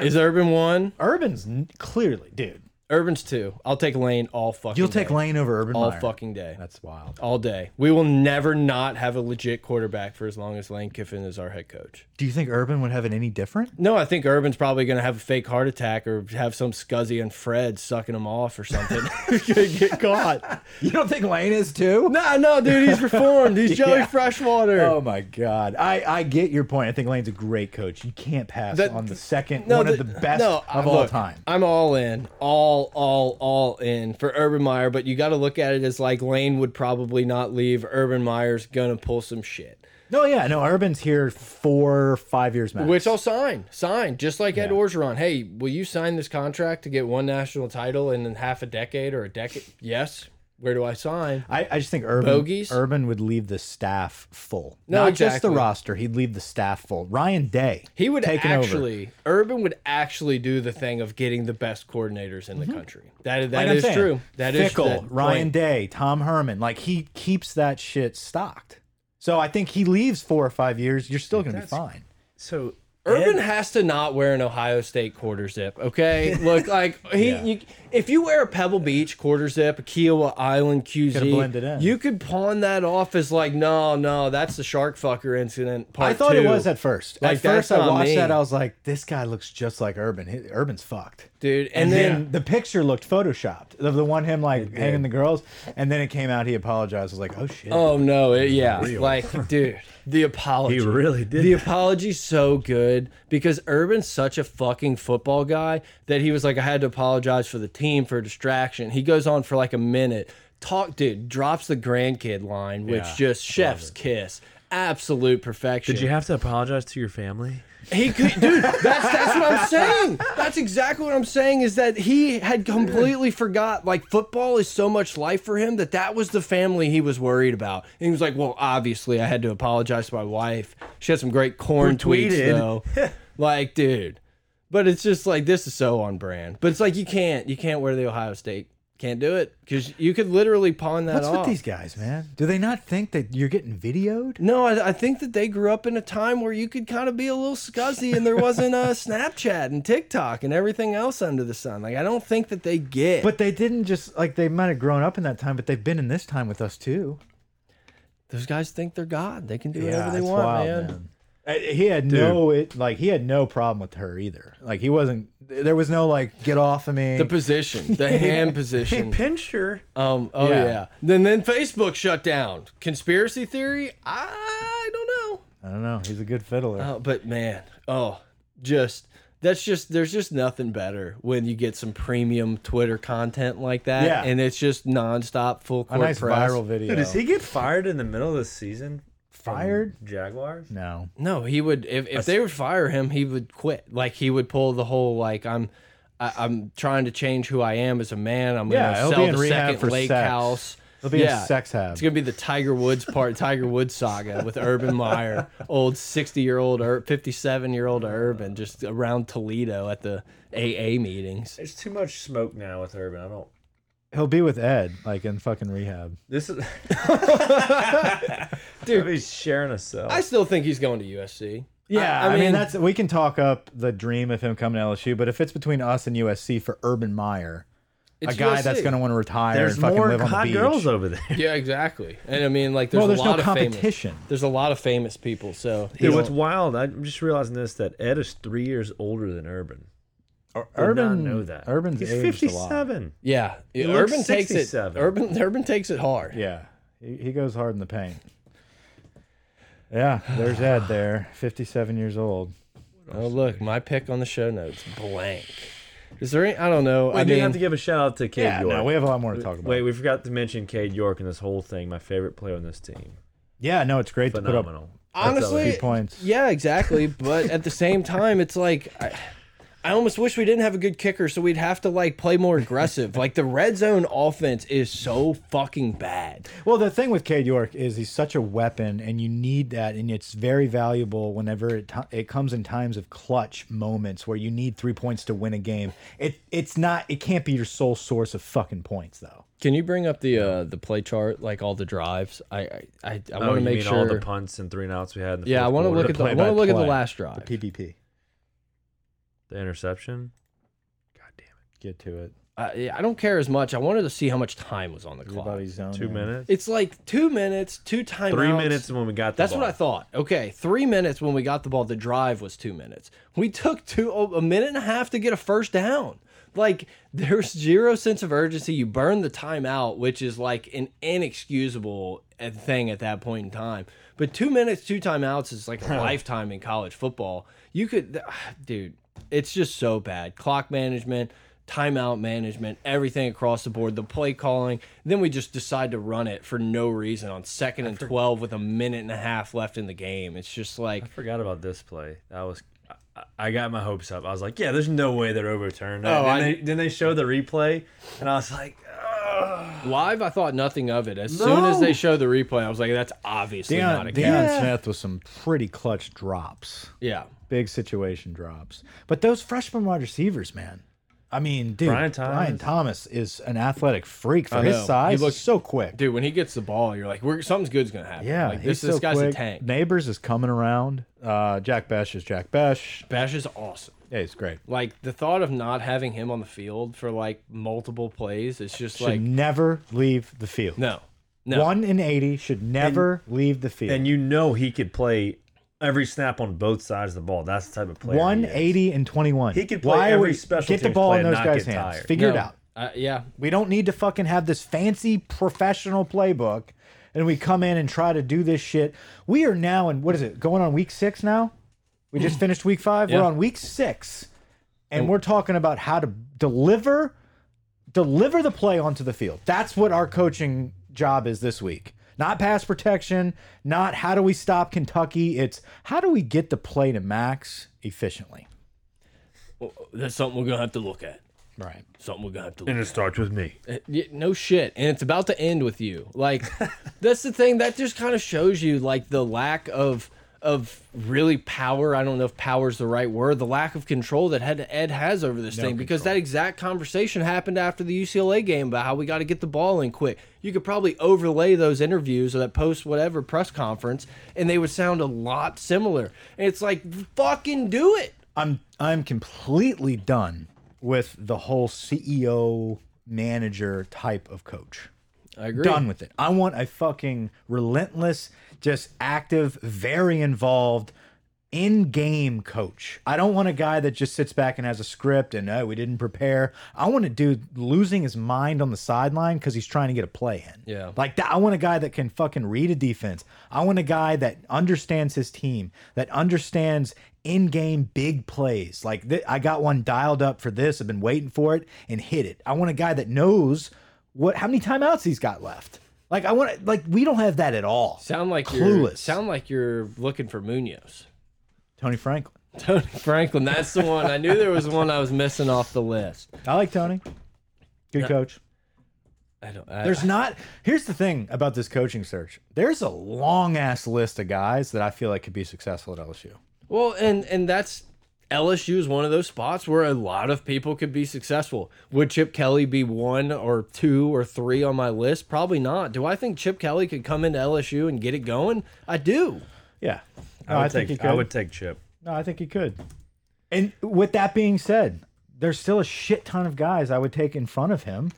Is Urban one? Urban's n- clearly, dude. Urban's two. I'll take Lane all fucking. You'll take day. Lane over Urban all Meyer. fucking day. That's wild. all day. We will never not have a legit quarterback for as long as Lane Kiffin is our head coach. Do you think Urban would have it any different? No, I think Urban's probably going to have a fake heart attack or have some scuzzy and Fred sucking him off or something. Gonna get caught. You don't think Lane is too? No, no, dude, he's reformed. He's Joey Yeah. Freshwater. Oh my God! I, I get your point. I think Lane's a great coach. You can't pass That- on the second no, one of the- the best no, of I- all look, time. I'm all in, all, all, all in for Urban Meyer. But you got to look at it as like Lane would probably not leave. Urban Meyer's gonna pull some shit. No, yeah, no. Urban's here four, five years max. Which I'll sign, sign, just like Ed Orgeron. Hey, will you sign this contract to get one national title in half a decade or a decade? Yes. Where do I sign? I, I just think Urban Bogeys? Urban would leave the staff full. No, Not just the exactly. roster. He'd leave the staff full. Ryan Day. He would taking over. actually, Urban would actually do the thing of getting the best coordinators in the country. That that Mm-hmm. Like I'm is saying, true. That is Fickle, that Ryan point. Day, Tom Herman. Like he keeps that shit stocked. So I think he leaves four or five years. You're still gonna be That's- fine. So Urban Ed- has to not wear an Ohio State quarter zip. Okay, look like he. Yeah. You, if you wear a Pebble Beach quarter zip, a Kiowa Island Coulda QZ, blended in. you could pawn that off as like, no, no, that's the shark fucker incident. Part I thought it two. was at first. Like, at first, that's I on watched me. that. I was like, this guy looks just like Urban. He- Urban's fucked. dude, And and, then then the picture looked photoshopped of the one him like hanging the girls, and then it came out. He apologized. I was like, oh shit. oh no, it, yeah, like dude, the apology. he really did. The apology's so good because Urban's such a fucking football guy that he was like, I had to apologize for the team for a distraction. He goes on for like a minute. Talk, dude, drops the grandkid line, which Yeah, just chef's kiss. Absolute perfection. did you have to apologize to your family? he could, dude. That's that's what I'm saying. That's exactly what I'm saying. Is that he had completely forgot. Like football is so much life for him that that was the family he was worried about. And he was like, "Well, obviously, I had to apologize to my wife. She had some great corn Who tweets, tweeted. though. like, dude. But it's just like this is so on brand. But it's like you can't you can't wear the Ohio State. Can't do it because you could literally pawn that What's off. with these guys, man? Do they not think that you're getting videoed? No, I, I think that they grew up in a time where you could kind of be a little scuzzy and there wasn't uh, Snapchat and TikTok and everything else under the sun. Like, I don't think that they get. But they didn't just like they might have grown up in that time, but they've been in this time with us too. those guys think they're God. They can do whatever they it's want, wild, man. man. Uh, He had no it like he had no problem with her either. Like he wasn't there was no like get off of me. The position, the hand position. pinched her. Um, oh yeah. Yeah. Then then Facebook shut down. Conspiracy theory? I don't know. I don't know. He's a good fiddler. Oh, but man, oh, just that's just there's just nothing better when you get some premium Twitter content like that, Yeah. and it's just nonstop full a court nice press. viral video. Dude, does he get fired in the middle of the season? from Fired? Jaguars? No. No, he would. If, if they would fire him, he would quit. Like he would pull the whole like I'm, I, I'm trying to change who I am as a man. I'm Yeah, he'll gonna sell be in the rehab second for lake sex. house. He'll be in sex hab. It's gonna be the Tiger Woods part, Tiger Woods saga with Urban Meyer, old sixty year old, fifty seven year old Urban, just around Toledo at the AA meetings. There's too much smoke now with Urban. I don't. He'll be with Ed, like in fucking rehab. This is. Dude, he's sharing a cell. I still think he's going to USC. I, mean, that's we can talk up the dream of him coming to LSU, but if it's between us and USC for Urban Meyer, it's a guy USC. that's going to want to retire There's and fucking more live on the hot beach. girls over there. Yeah, exactly. And I mean, like, there's, Well, there's a no lot of famous. competition. There's a lot of famous people. So Dude, you what's know, wild? I'm just realizing this that Ed is three years older than Urban. Did Urban not know that. Urban's he's aged a lot. 57. yeah, looks Urban takes it. 67. Urban Urban takes it hard. Yeah, he, he goes hard in the paint. Yeah, there's Ed there, 57 years old. Oh look, my pick on the show notes blank. Is there any? I don't know. We I do mean, have to give a shout out to Cade Yeah, York. no, we have a lot more to talk about. Wait, we forgot to mention Cade York in this whole thing. My favorite player on this team. yeah, no, it's great to put up Phenomenal. That's honestly, key points. yeah, exactly. But at the same time, it's like. I, I almost wish we didn't have a good kicker, so we'd have to like play more aggressive. like the red zone offense is so fucking bad. Well, the thing with Cade York is he's such a weapon, and you need that, and it's very valuable whenever it ti- it comes in times of clutch moments where you need three points to win a game. It it's not it can't be your sole source of fucking points though. Can you bring up the uh, the play chart, like all the drives? I I, I, I Oh, want to you make mean sure. all the punts and three and outs we had. In the yeah, I want to look at the I want to play-by-play, look at the last drive. The PPP. the interception. God damn it! Get to it. I, I don't care as much. I wanted to see how much time was on the clock. Everybody's zoned Two in. minutes. It's like two minutes, two timeouts. Three minutes when we got the That's what ball. I thought. Okay, three minutes when we got the ball. The drive was two minutes. We took two oh, a minute and a half to get a first down. Like there's zero sense of urgency. You burn the timeout, which is like an inexcusable uh, thing at that point in time. But two minutes, two timeouts is like a lifetime in college football. You could, dude. It's just so bad. Clock management. Timeout management, everything across the board, the play calling. Then we just decide to run it for no reason on second and 12 with a minute and a half left in the game. It's just like, Forgot about this play. That was. I- I got my hopes up. I was like, "Yeah, there's no way they're overturned." Oh, and I- they, then they showed the replay, and I was like, "Ugh." Live, I thought nothing of it. As soon as No. they show the replay, I was like, that's obviously not a Deion, catch. Deion Smith with some pretty clutch drops, Yeah. big situation drops. But those freshman wide receivers, man. I mean, dude, Brian Thomas. Brian Thomas is an athletic freak for I his know. size. He He looks- looks so quick. Dude, when he gets the ball, you're like, We're, something's good's going to happen. yeah, Like, he's this, this so guy's quick. a tank. Neighbors is coming around. Uh, Jack Besh is Jack Besh. Bash is awesome. Yeah, he's great. Like, the thought of not having him on the field for like multiple plays is just Should like, never leave the field. no. No. One in eighty should never leave the field. and you know he could play every snap on both sides of the ball. That's the type of player. he is. 180 and 21. He could play Why are every we- special Get the teams ball play in and those not guys' get hands. tired. Figure it No. out. Uh, yeah. We don't need to fucking have this fancy professional playbook and we come in and try to do this shit. We are now in what is it? Going on week 6 now? We just finished week 5. We're Yeah. on week 6 Mm. and we're talking about how to deliver deliver the play onto the field. That's what our coaching job is this week. Not pass protection, not how do we stop Kentucky. It's how do we get the play to max efficiently. Well, that's something we're going to have to look at. Right. Something we're going to have to look And it starts with me. Yeah, no shit and it's about to end with you like that's the thing that just kind of shows you like the lack of of really power i don't know if power's the right word the lack of control that Ed, Ed has over this thing because that exact conversation happened after the ucla game about how we got to get the ball in quick you could probably overlay those interviews or that post whatever press conference and they would sound a lot similar and it's like fucking do it I'm I'm completely done with the whole CEO manager type of coach. i agree Done with it. I want a fucking relentless, just active, very involved in-game coach. I don't want a guy that just sits back and has a script and oh, we didn't prepare. I want a dude losing his mind on the sideline cuz he's trying to get a play in. Yeah. Like that, I want a guy that can fucking read a defense. I want a guy that understands his team, that understands in-game big plays. Like th I got one dialed up for this. I've been waiting for it and hit it. I want a guy that knows what how many timeouts he's got left. Like I want like we don't have that at all. sound like you're clueless. sound like you're looking for munoz Tony Franklin. Tony Franklin. That's the one. I knew there was one I was missing off the list. I like Tony. Good coach. I don't. I, There's not. Here's the thing about this coaching search. There's a long ass list of guys that I feel like could be successful at LSU. well, and and that's LSU is one of those spots where a lot of people could be successful. Would Chip Kelly be one or two or three on my list? Probably not. Do I think Chip Kelly could come into LSU and get it going? I do. Yeah. I No, would think he take. could. I would take Chip. No, I think he could. And with that being said, there's still a shit ton of guys I would take in front of him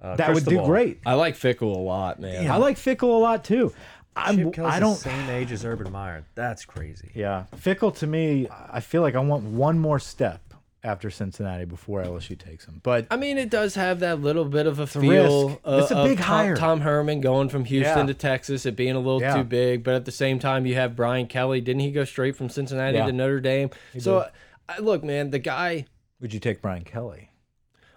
Uh, that would do Cristobal. great. I like Fickle a lot, man. I like Fickle a lot too. I'm, Chip Kelly's I I don't. the same age as Urban Meyer. That's crazy. Yeah, Fickle to me, I feel like I want one more step after Cincinnati before LSU takes him. But I mean, it does have that little bit of a a feel. uh, risk. Of, It's a big of Tom, hire. Tom Herman going from Houston Yeah. to Texas, it being a little Yeah. too big, but at the same time, you have Brian Kelly. Didn't he go straight from Cincinnati Yeah. to Notre Dame? so, I, look, man, the guy. would you take Brian Kelly?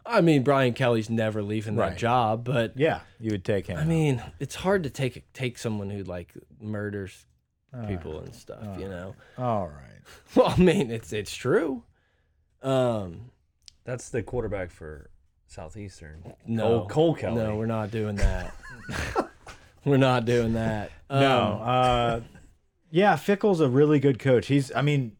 I mean, Brian Kelly's never leaving Right. that job, but Yeah, you would take him. I mean, it's hard to take take someone who like murders Ah. people and stuff. you know, All right. well, I mean, it's it's true. Um, That's the quarterback for Southeastern. no, Cole, Cole Kelly. No, we're not doing that. we're not doing that. No. Um, Uh, yeah, Fickle's a really good coach. He's, I mean,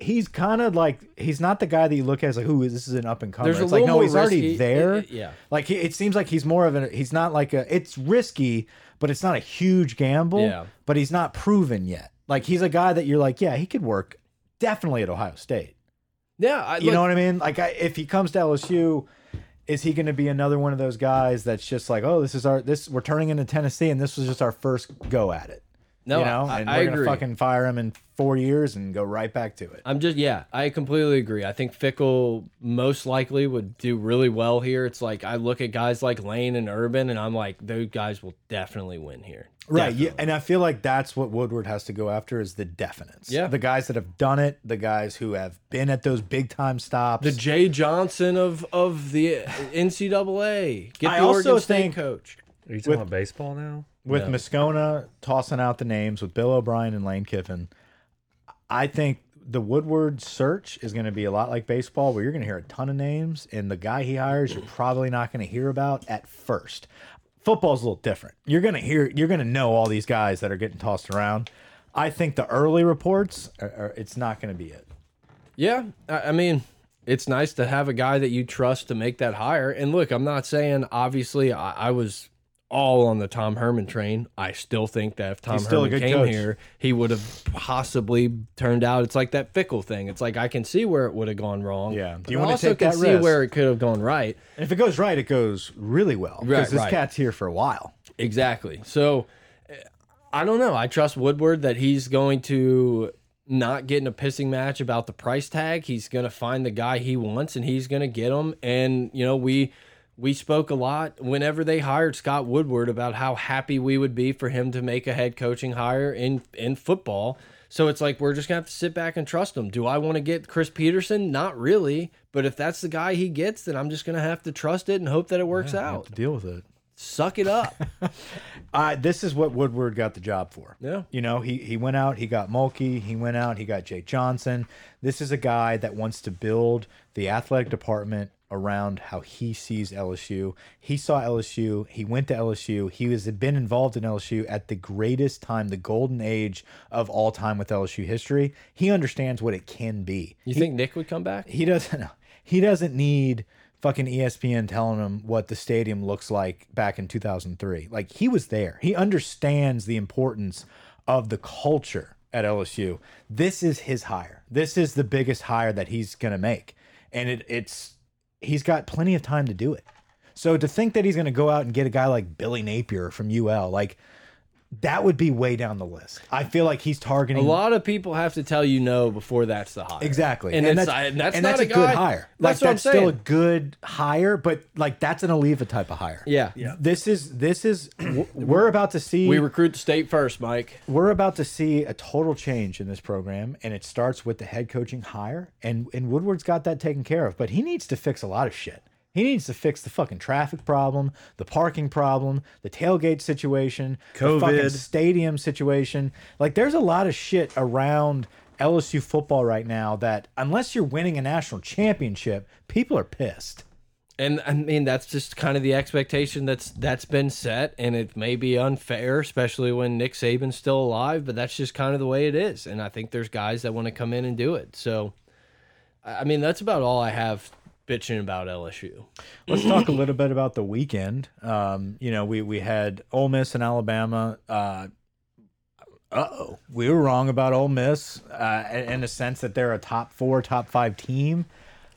he's kind of like he's not the guy that you look at as like, who this is an up and comer. There's It's a like little no, more he's already risky- there. i- i- yeah. like he, it seems like he's more of an. He's not like a. It's risky, but it's not a huge gamble. Yeah. but he's not proven yet. Like he's a guy that you're like, yeah, he could work definitely at Ohio State. Yeah, I, You know what I mean? Like I, if he comes to LSU, is he going to be another one of those guys that's just like, oh, this is our this we're turning into Tennessee, and this was just our first go at it. No, you know, I- and I we're gonna agree. Uh, fucking fire him in four years and go right back to it. I'm just yeah, I completely agree. I think Fickle most likely would do really well here. It's like I look at guys like Lane and Urban, and I'm like, those guys will definitely win here. Right. Yeah, and I feel like that's what Woodward has to go after is the definites. Yeah. The guys that have done it, the guys who have been at those big time stops. The Jay Johnson of of the NCAA. Get the I also Oregon State think- coach. Are you talking about baseball now? with Moscona tossing out the names with Bill O'Brien and Lane Kiffin, I think the Woodward search is going to be a lot like baseball, where you're going to hear a ton of names, and the guy he hires you're probably not going to hear about at first. Football's a little different. You're going to hear, you're going to know all these guys that are getting tossed around. I think the early reports, are, are, it's not going to be it. Yeah, I, I mean, it's nice to have a guy that you trust to make that hire. And look, I'm not saying obviously I, I was all on the Tom Herman train. I still think that if Tom still a Herman good came coach. here, he would have possibly turned out. It's like that fickle thing. It's like I can see where it would have gone wrong. Yeah. Do but you I wanna also take can that see risk? where it could have gone right. And if it goes right, it goes really well because Right, this right. cat's here for a while. Exactly. So eh, I don't know. I trust Woodward that he's going to not get in a pissing match about the price tag. He's going to find the guy he wants and he's going to get him. And you know, we we spoke a lot whenever they hired Scott Woodward about how happy we would be for him to make a head coaching hire in in football. So it's like we're just gonna have to sit back and trust him. Do I want to get Chris Peterson? Not really. But if that's the guy he gets, then I'm just gonna have to trust it and hope that it works out. Deal with it. Suck it up. I, this is what Woodward got the job for. Yeah. You know, he, he went out, he got Mulkey, he went out, he got Jake Johnson. This is a guy that wants to build the athletic department around how he sees LSU. He saw LSU, he went to LSU, he has been involved in LSU at the greatest time, the golden age of all time with LSU history. He understands what it can be. You think Nick would come back? He doesn't he doesn't need fucking E ESPN telling him what the stadium looks like back in 2003. Like he was there. He understands the importance of the culture at LSU. This is his hire. This is the biggest hire that he's going to make. And it it's he's got plenty of time to do it. So to think that he's going to go out and get a guy like Billy Napier from UL like that would be way down the list. I feel like he's targeting A lot of people have to tell you no before that's the hire. Exactly, and, that's, I- that's and not that's a, a, good guy- hire. That's like what that's I'm still a saying. good hire, but like that's an Oliva type of hire. Yeah. Yeah. This is this is we're about to see we recruit the state first, Mike. we're about to see a total change in this program, and it starts with the head coaching hire. And and Woodward's got that taken care of, but he needs to fix a lot of shit. He needs to fix the fucking traffic problem, the parking problem, the tailgate situation, the fucking COVID. stadium situation. Like, there's a lot of shit around LSU football right now that, unless you're winning a national championship, people are pissed. And I mean that's just kind of the expectation that's that's been set, and it may be unfair, especially when Nick Saban's still alive. But that's just kind of the way it is, and I think there's guys that want to come in and do it. So, I I mean, that's about all I have bitching about LSU. Let's talk a little bit about the weekend. Um, you know, we we had Ole Miss and Alabama. Uh, uh oh, we were wrong about Ole Miss uh, in in the sense that they're a top four, top five team.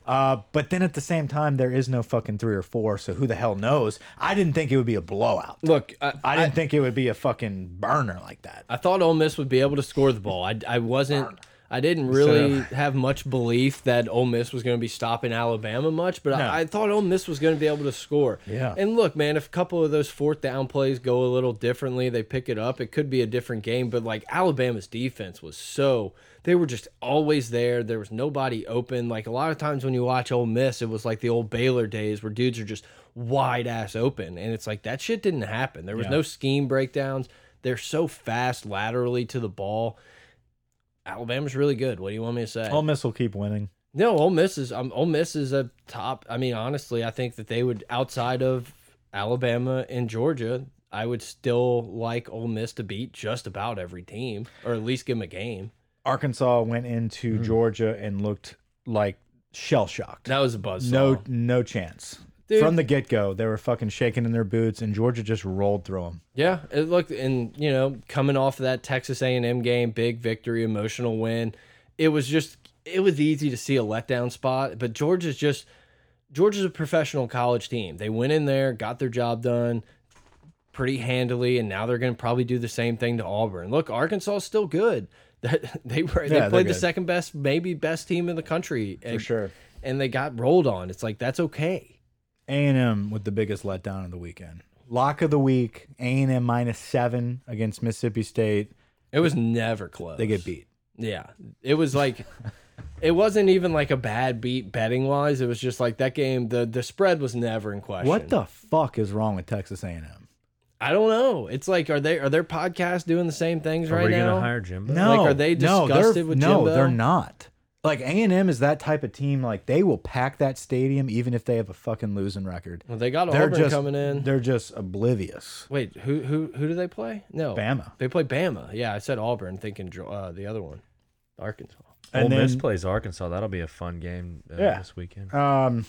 Uh, but then at the same time, there is no fucking three or four, so who the hell knows? I didn't think it would be a blowout. Look, I, I didn't think it would be a fucking burner like that. I thought Ole Miss would be able to score the ball. I, I wasn't. I didn't really have much belief that Ole Miss was going to be stopping Alabama much, but I, I thought Ole Miss was going to be able to score. Yeah. And look, man, if a couple of those fourth down plays go a little differently, they pick it up. It could be a different game. But like Alabama's defense was so they were just always there. There was nobody open. Like a lot of times when you watch Ole Miss, it was like the old Baylor days where dudes are just wide ass open, and it's like that shit didn't happen. There was no scheme breakdowns. They're so fast laterally to the ball. Alabama's really good. What do you want me to say? Ole Miss will keep winning. No, Ole Miss is um, Ole Miss is a top. I mean, honestly, I think that they would outside of Alabama and Georgia. I would still like Ole Miss to beat just about every team, or at least give them a game. Arkansas went into Georgia and looked like shell shocked. That was a buzz. No, no chance. Dude. From the get go, they were fucking shaking in their boots, and Georgia just rolled through them. Yeah, it looked and you know coming off of that Texas A and M game, big victory, emotional win. It was just it was easy to see a letdown spot, but Georgia's just Georgia's a professional college team. They went in there, got their job done pretty handily, and now they're going to probably do the same thing to Auburn. Look, Arkansas is still good. That they were they're they played the good. second best, maybe best team in the country and, sure. and they got rolled on. It's like that's okay. A&M with the biggest letdown of the weekend. Lock of the week, A&M minus seven against Mississippi State. It was never close. They get beat. Yeah. It was like it wasn't even like a bad beat betting wise. It was just like that game the the spread was never in question. What the fuck is wrong with Texas A&M? I don't know. It's like are they are their podcasts doing the same things Are right we now? gonna hire Jimbo? No, Like, are they no, they're, disgusted with no, Jimbo? they're not. Like A&M is that type of team. Like they will pack that stadium even if they have a fucking losing record. Well, they got they're Auburn just coming in. They're just oblivious. Wait, who who who do they play? No, Bama. They play Bama. Yeah, I said Auburn, thinking uh, the other one, Arkansas. Ole And Miss then- plays Arkansas. That'll be a fun game uh, Yeah. this weekend. Um,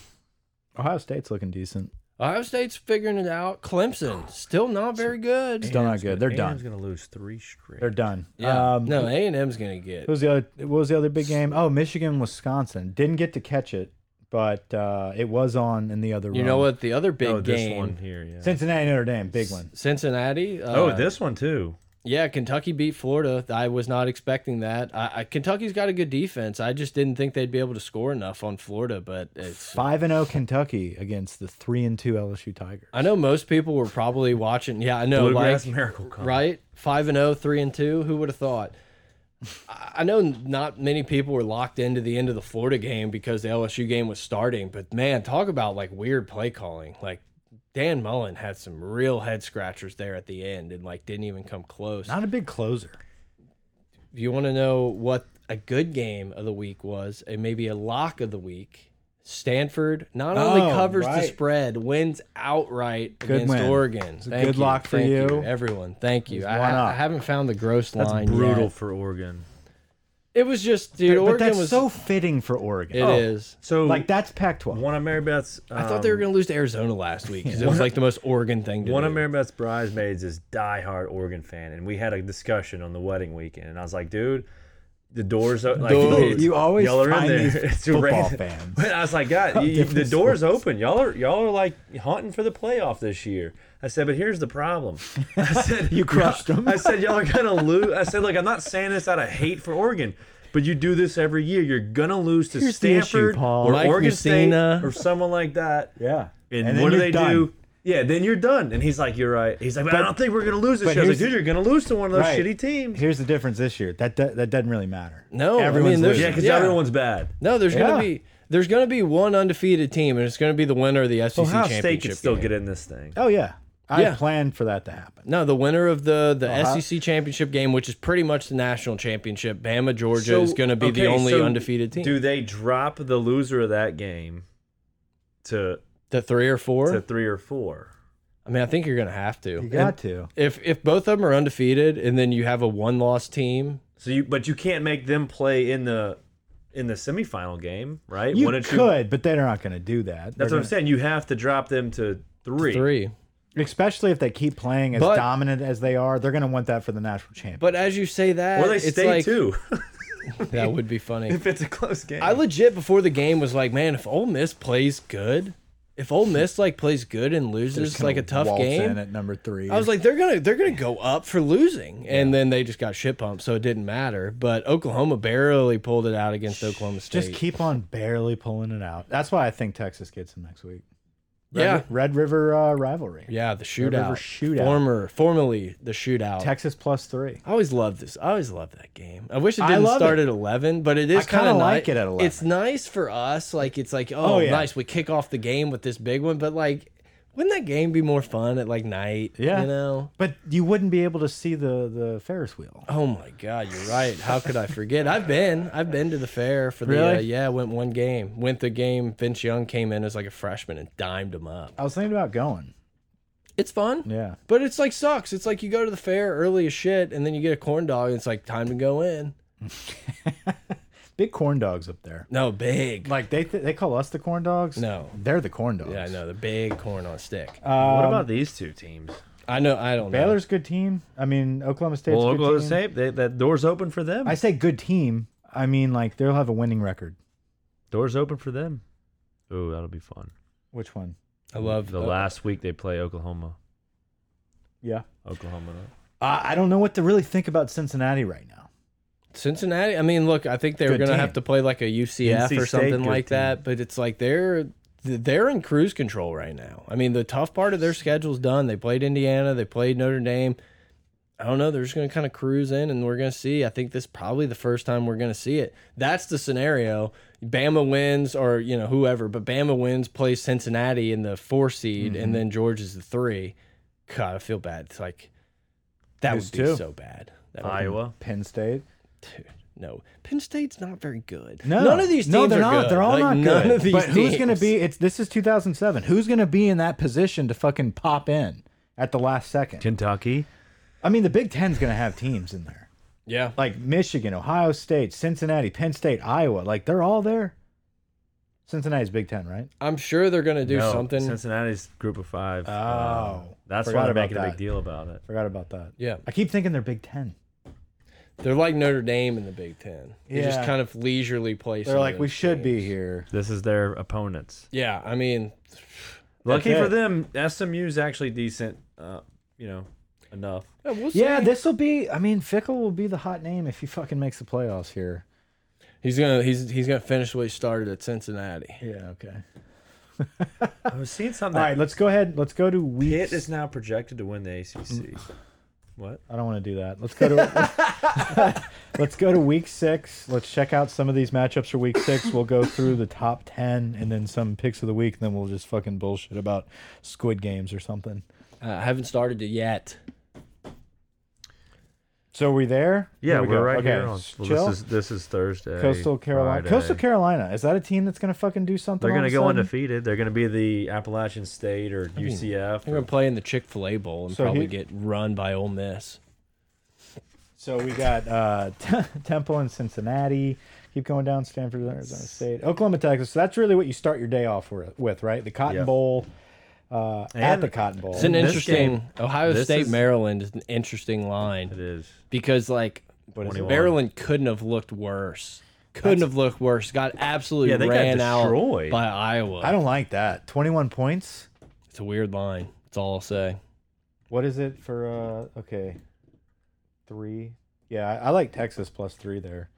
Ohio State's looking decent. Ohio State's figuring it out. Clemson still not very good. Still not good. They're A&M's done. gonna lose three straight. They're done. Yeah, Um, no, A and M's gonna get. What was the other? What was the other big game? Oh, Michigan, Wisconsin. Didn't get to catch it, but uh, it was on in the other. You room. know what? The other big oh, game, this one here. Yeah. Cincinnati, Notre Dame, big one. Cincinnati. Uh, oh, this one too. Yeah, Kentucky beat Florida. I was not expecting that. I, I, Kentucky's got a good defense. I just didn't think they'd be able to score enough on Florida. But it's. Five and zero Kentucky against the three and two LSU Tigers. I know most people were probably watching. Yeah, I know. Bluegrass like, Miracle Cup. right? Five and oh, three and two. Who would have thought? I I know not many people were locked into the end of the Florida game because the LSU game was starting, but man, talk about like weird play calling. Like Dan Mullen had some real head scratchers there at the end and like didn't even come close. Not a big closer. If you want to know what a good game of the week was, and maybe a lock of the week, Stanford not only Oh, covers the right. spread, wins outright against win. Oregon. a Thank good you. lock for Thank you. everyone. Thank you. I, one ha- up. I haven't found the gross That's line. brutal yet. for Oregon. It was just, dude. but Oregon that's was. so Oh. fitting for Oregon. it is. So Like that's Pac-12. One of Marybeth's. I thought they were going to lose to Arizona last week because it was like the most Oregon thing to One do. of Marybeth's bridesmaids is diehard Oregon fan, and we had a discussion on the wedding weekend, and I was like, dude. The doors are like Dude, it's- you always y'all are in find there. these It's football random. fans. But I was like, God, you- you- the Different door's open. Y'all are y'all are like hunting for the playoff this year. I said, but here's the problem. I said You crushed y'all- 'em. I said y'all are gonna lose. I said, look, I'm not saying this out of hate for Oregon, but you do this every year. You're gonna lose to Here's the issue, Stanford Paul. or Mike Oregon Messina. State or someone like that. yeah. And, then what do you're they done. do? Yeah, then you're done. And he's like, you're right. He's like, but, I But- don't think we're gonna lose this but year. I was like, here's- dude, you're gonna lose to one of those Right. shitty teams. Here's the difference this year. That do- that doesn't really matter. No, I everyone's mean, there's- Yeah, losing. because Yeah. everyone's bad. no, there's going to Yeah. be there's going to be one undefeated team, and it's going to be the winner of the SEC Ohio championship. State could still game. get in this thing. Oh yeah. I Yeah. planned for that to happen. No, the winner of the Oh, the how- SEC championship game, which is pretty much the national championship, Bama Georgia So, is going to be the okay, only so undefeated team. Do they drop the loser of that game to the three or four? to three or four? I mean, I think you're going to have to. You And got to. if if both of them are undefeated, and then you have a one loss team, So you, but you can't make them play in the in the semifinal game, right? You Wouldn't could, but they're not going to do that. that's They're what I'm saying. You have to drop them to three. three. gonna- Especially if they keep playing as But- dominant as they are, they're going to want that for the national championship. But as you say that, Or they it's stay like, two That would be funny. if it's a close game. I legit before the game was like, man, if Ole Miss plays good, if Ole Miss like plays good and loses Just like a gonna tough waltz game, in at number three. I was like, they're gonna they're gonna go up for losing, and then they just got shit pumped, so it didn't matter. But Oklahoma barely pulled it out against Oklahoma State. just keep on barely pulling it out. That's why I think Texas gets them next week. Red, yeah, Red River uh, rivalry. yeah, the River shootout, shootout. former formerly the shootout. Texas plus three. I always love this. I always love that game. I wish it I didn't love start it. at eleven, but it is I kinda kind of like it at 11. It's nice for us. Like it's like oh, Oh, yeah. nice. We kick off the game with this big one, but like. Wouldn't that game be more fun at like night? Yeah. You know? But you wouldn't be able to see the the Ferris wheel. Oh my God, you're right. How could I forget? I've been, I've been to the fair for the Really? uh, yeah. Went one game, went the game. Vince Young came in as like a freshman and dimed him up. I was thinking about going. It's fun, Yeah. but it's like sucks. It's like you go to the fair early as shit, and then you get a corn dog. And it's like time to go in. Big corn dogs up there. No big, Like they th they call us the corn dogs. No. they're the corn dogs. Um, yeah, I know the big corn on a stick. what about these two teams? I know, I don't know. Baylor's good team. I mean, Oklahoma State's Well, good Oklahoma team. State, they, that door's open for them. I say good team. I mean, like they'll have a winning record. door's open for them. Ooh, that'll be fun. Which one? I love The last week they play Oklahoma. Yeah. Oklahoma. Uh, I don't know what to really think about Cincinnati right now. Cincinnati. I mean, look, I think they were Good going to team. have to play like a UCF NC or State, something good like team. that, but it's like they're they're in cruise control right now. I mean, the tough part of their schedule's done. They played Indiana, they played Notre Dame. I don't know. They're just going to kind of cruise in, and we're going to see. I think this is probably the first time we're going to see it. That's the scenario. Bama wins, or you know whoever, but Bama wins, plays Cincinnati in the four seed, Mm-hmm. and then Georgia's the three. God, I feel bad. It's like that Who's would be two? so bad. That would be Iowa. Penn State. Dude, no. Penn State's not very good. No, none of these teams no, they're are not. good. They're all Like, not none good. Of these but who's teams. going to be? It's this is 2007. Who's going to be in that position to fucking pop in at the last second? Kentucky. I mean, the Big Ten's going to have teams in there Yeah, like Michigan, Ohio State, Cincinnati, Penn State, Iowa. Like they're all there. Cincinnati's Big Ten, right? I'm sure they're going to do No, something. Cincinnati's group of five. Oh. Oh, that's forgot why they're about making a that. big deal about it. Forgot about that. Yeah, I keep thinking they're Big Ten. they're like Notre Dame in the Big Ten. They just Yeah. kind of leisurely place. They're like we should be here. This is their opponents. Yeah, I mean, Lucky That's for it. them, SMU's actually decent. Uh, you know, enough. yeah, we'll see. Yeah, this will be. I mean, Fickle will be the hot name if he fucking makes the playoffs here. he's gonna he's he's gonna finish what he started at Cincinnati. Yeah. Okay. I was seeing something. All right. Let's go ahead. Let's go to week. Pitt is now projected to win the ACC. Mm. what? I don't want to do that. Let's go to let's go to week six. Let's check out some of these matchups for week six. We'll go through the top ten and then some picks of the week. And then we'll just fucking bullshit about Squid Games or something. Uh, I haven't started it yet. So are we there? Yeah, Here we we are go. right okay. here. On, well, chill. this is this is Thursday. Coastal Carolina. Friday. Coastal Carolina is that a team that's gonna fucking do something? They're all of gonna a go sudden? undefeated. They're gonna be the Appalachian State or UCF. They're gonna play in the Chick Fil A Bowl and So probably he- get run by Ole Miss. So we got uh, Temple and Cincinnati. Keep going down. Stanford, Arizona State, Oklahoma, Texas. So that's really what you start your day off with, with right? The Cotton Yeah. Bowl. Uh, at And- the Cotton Bowl. It's an this interesting game- Ohio this State is- Maryland is an interesting it line is. because like is it? Maryland couldn't have looked worse. Couldn't have looked worse. Got absolutely Yeah, they got ran out destroyed. by Iowa. I don't like that. 21 points. it's a weird line. That's all I'll say. What is it for? Uh, okay, three. Yeah, I, I like Texas plus three there.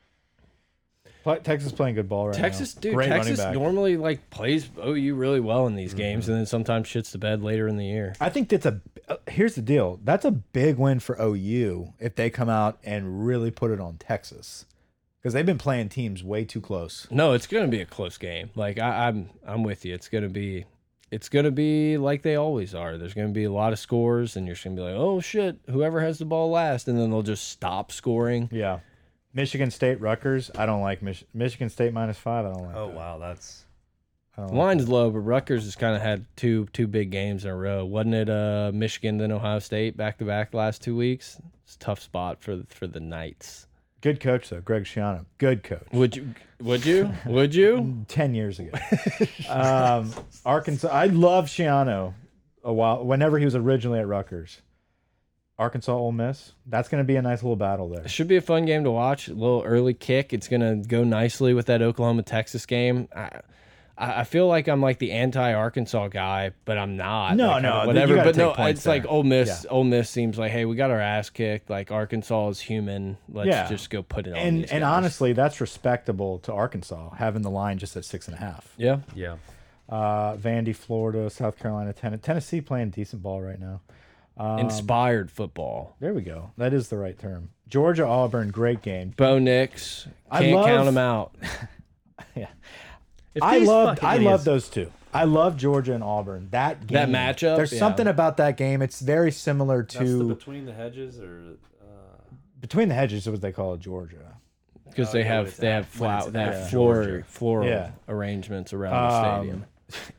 Pl Texas playing good ball right Texas, now. dude, Great running Texas back. Mm-hmm. normally like plays OU really well in these games, and then sometimes shits the bed later in the year. I think that's a. Uh, here's the deal. That's a big win for OU if they come out and really put it on Texas, because they've been playing teams way too close. No, it's gonna be a close game. Like I, I'm, I'm with you. It's gonna be, it's gonna be like they always are. There's gonna be a lot of scores, and you're just gonna be like, oh shit, whoever has the ball last, and then they'll just stop scoring. Yeah. Michigan State Rutgers. I don't like Mich Michigan State minus five. I don't like. Oh that. wow, that's I don't like Line's low, but Rutgers has kind of had two two big games in a row. Wasn't it uh, Michigan then Ohio State back to back last two weeks? It's a tough spot for for the Knights. that. Good coach though, Greg Schiano. Good coach. Would you? Would you? Would you? 10 years ago. um, Arkansas. I love Shiano a while, whenever he was originally at Rutgers. Arkansas Ole Miss. That's going to be a nice little battle there. Should be a fun game to watch. A little early kick. It's gonna go nicely with that Oklahoma Texas game. I, I I feel like I'm like the anti Arkansas guy, but I'm not. No, Like, no, you whatever. gotta But no, take points it's there. like Ole Miss. Ole Miss seems like, hey, we got our ass kicked. Like Arkansas is human. Let's Yeah. just go put it on. And, these and guys. honestly, that's respectable to Arkansas having the line just at six and a half. yeah, yeah. Uh, Vandy, Florida, South Carolina, Ten Tennessee playing decent ball right now. Um, inspired football. There we go. That is the right term. Georgia, Auburn, great game. Bo Nix I can't love- count him out. If I these love fucking I love idiots- those two. I love Georgia and Auburn. That game, That matchup, There's yeah. something about that game. It's very similar to That's the between the hedges or Between the Hedges is what they call it, Georgia. because they Oh, yeah, have with they that- have when it's flower that at floral Georgia. floral Yeah. Um, arrangements around the stadium.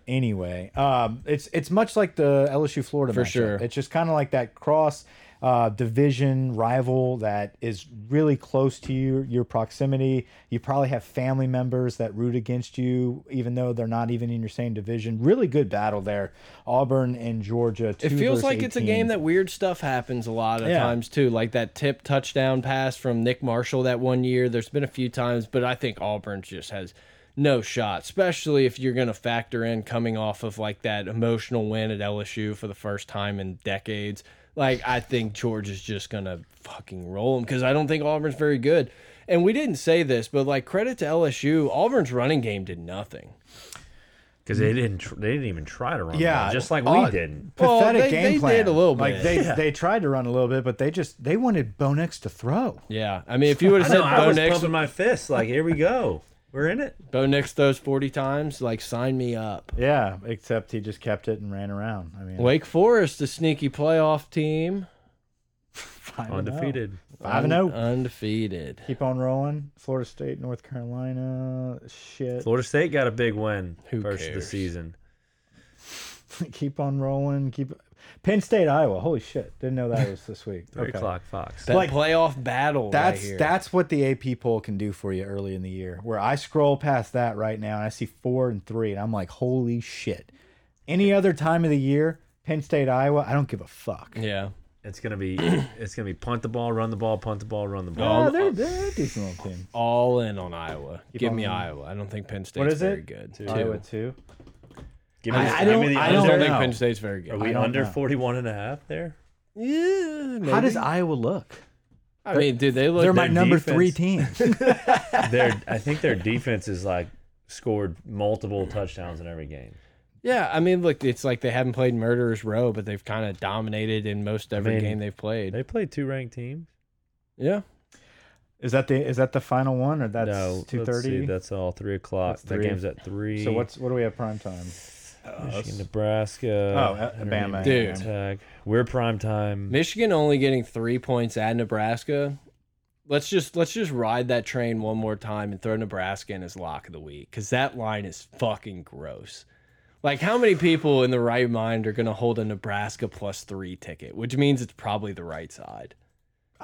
Anyway, um, it's it's much like the LSU Florida for sure. It's just kind of like that cross uh, division rival that is really close to you, your proximity. You probably have family members that root against you, even though they're not even in your same division. Really good battle there, Auburn and Georgia. It two feels versus like it's a 18. game that weird stuff happens a lot of Yeah. times too, like that tip touchdown pass from Nick Marshall that one year. There's been a few times, but I think Auburn just has no shot, especially if you're going to factor in coming off of like that emotional win at LSU for the first time in decades. Like, I think George is just going to fucking roll him because I don't think Auburn's very good. And we didn't say this, but like, credit to LSU, Auburn's running game did nothing. because they didn't tr- they didn't even try to run. Yeah, Yeah, just like odd. we didn't. Well, Pathetic they- game they plan. did a little Like bit. they Yeah. they tried to run a little bit, but they just they wanted Bo Nix to throw. Yeah. I mean, if you would I have know. said I Bo was Nix, pumping my fist like, here we go, we're in it. Bo Nix throws 40 times, like, sign me up. Yeah, except he just kept it and ran around. I mean, Wake Forest, a sneaky playoff team, five and oh. Undefeated. Five and zero. undefeated. Keep on rolling. Florida State, North Carolina. Shit. Florida State got a big win Who first of the cares? season. keep on rolling. Keep. Penn State, Iowa. Holy shit! Didn't know that was this week. Three Okay. o'clock Fox. That Like, playoff battle. That's right here. that's what the AP poll can do for you early in the year. Where I scroll past that right now and I see four and three, and I'm like, holy shit! Any other time of the year, Penn State, Iowa, I don't give a fuck. Yeah. It's gonna be it's gonna be punt the ball, run the ball, punt the ball, run the ball. Oh, they're, they're a decent little team. All in on Iowa. Give on me going. Iowa. I don't think Penn State's What is very it? good. Iowa two. Give me I- the- I give don't- me the I I don't under. think know. Penn State's very Are good. we don't under know. 41 and a half there? Yeah, How maybe. does Iowa look? I mean, dude, they look They're my their number defense- three team. Their I think their defense is like scored multiple touchdowns in every game. Yeah, I mean, look, it's like they haven't played Murderers Row, but they've kind of dominated in most every mean, game they've played. They played two ranked teams. yeah. Is that the is that the final one or that's no, two let's see, thirty? That's all three o'clock. That's The three. game's at three. So what's what do we have prime time? Michigan, Nebraska? Oh, A- Bama. Dude. Tech. We're prime time. Michigan only getting three points at Nebraska. Let's just let's just ride that train one more time and throw Nebraska in as lock of the week because that line is fucking gross. Like, how many people in the right mind are going to hold a Nebraska plus three ticket, which means it's probably the right side.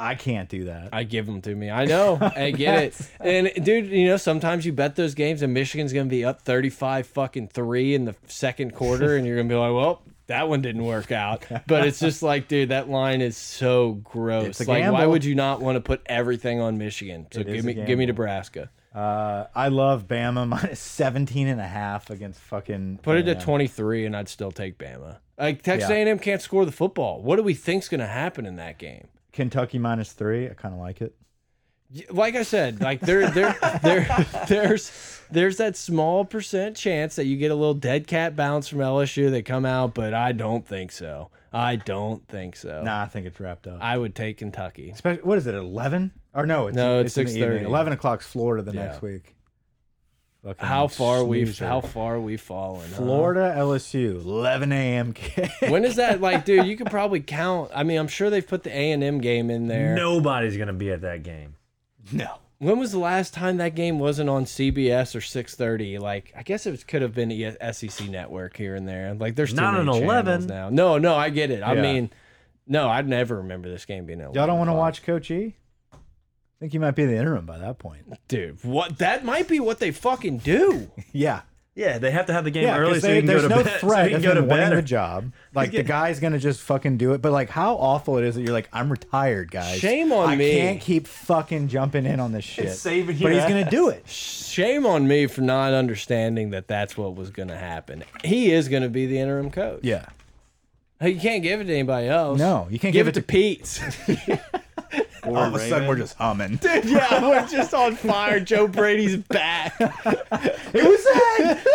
I can't do that. I give them to me. I know. I get it. And dude, you know, sometimes you bet those games and Michigan's going to be up 35 fucking 3 in the second quarter and you're going to be like, "Well, that one didn't work out." But it's just like, dude, that line is so gross. It's a Like, why gamble. would you not want to put everything on Michigan? So is give a me give me gamble. Nebraska. Uh, I love Bama minus 17 and a half against fucking. uh, Put it A&M. at 23 and I'd still take Bama. Like Texas Yeah. A&M can't score the football. What do we think's going to happen in that game? Kentucky minus three. I kind of like it. like I said, like there, there, there, there's, there's that small percent chance that you get a little dead cat bounce from LSU. They come out, but I don't think so. I don't think so. Nah, I think it's wrapped up. I would take Kentucky. Especially, what is it? 11? Or no, it's No, it's in the 6:30. evening. 11 o'clock's Florida the Yeah. next week. Fucking How far we've, snoozer. how far we've fallen. huh? Florida LSU 11 a.m. kick. When is that? Like, dude, you could probably count. I mean, I'm sure they've put the A and M game in there. Nobody's gonna be at that game. no. When was the last time that game wasn't on CBS or 6:30? Like, I guess it could have been E the SEC Network here and there. Like, there's too Not many an channels 11. now. No, no, I get it. I Yeah. mean, no, I'd never remember this game being. at Y'all 11 don't want to o'clock. watch Coach E? I think you might be the interim by that point. dude. What? That might be what they fucking do. Yeah. Yeah, they have to have the game Yeah, 'cause early so they- you can go there's to no bed. threat so you can of go to him winning bed. the job. Like the guy's gonna just fucking do it. But like, how awful it is that you're like, I'm retired, guys. Shame on I me." can't keep fucking jumping in on this shit. saving but your he's gonna do it. Shame on me for not understanding that that's what was going to happen. He is going to be the interim coach. Yeah. Hey, You can't give it to anybody else. No, you can't give it to it to- Pete's. All of a sudden, we're just humming. it yeah, we're just on fire. Joe Brady's back. was Ed.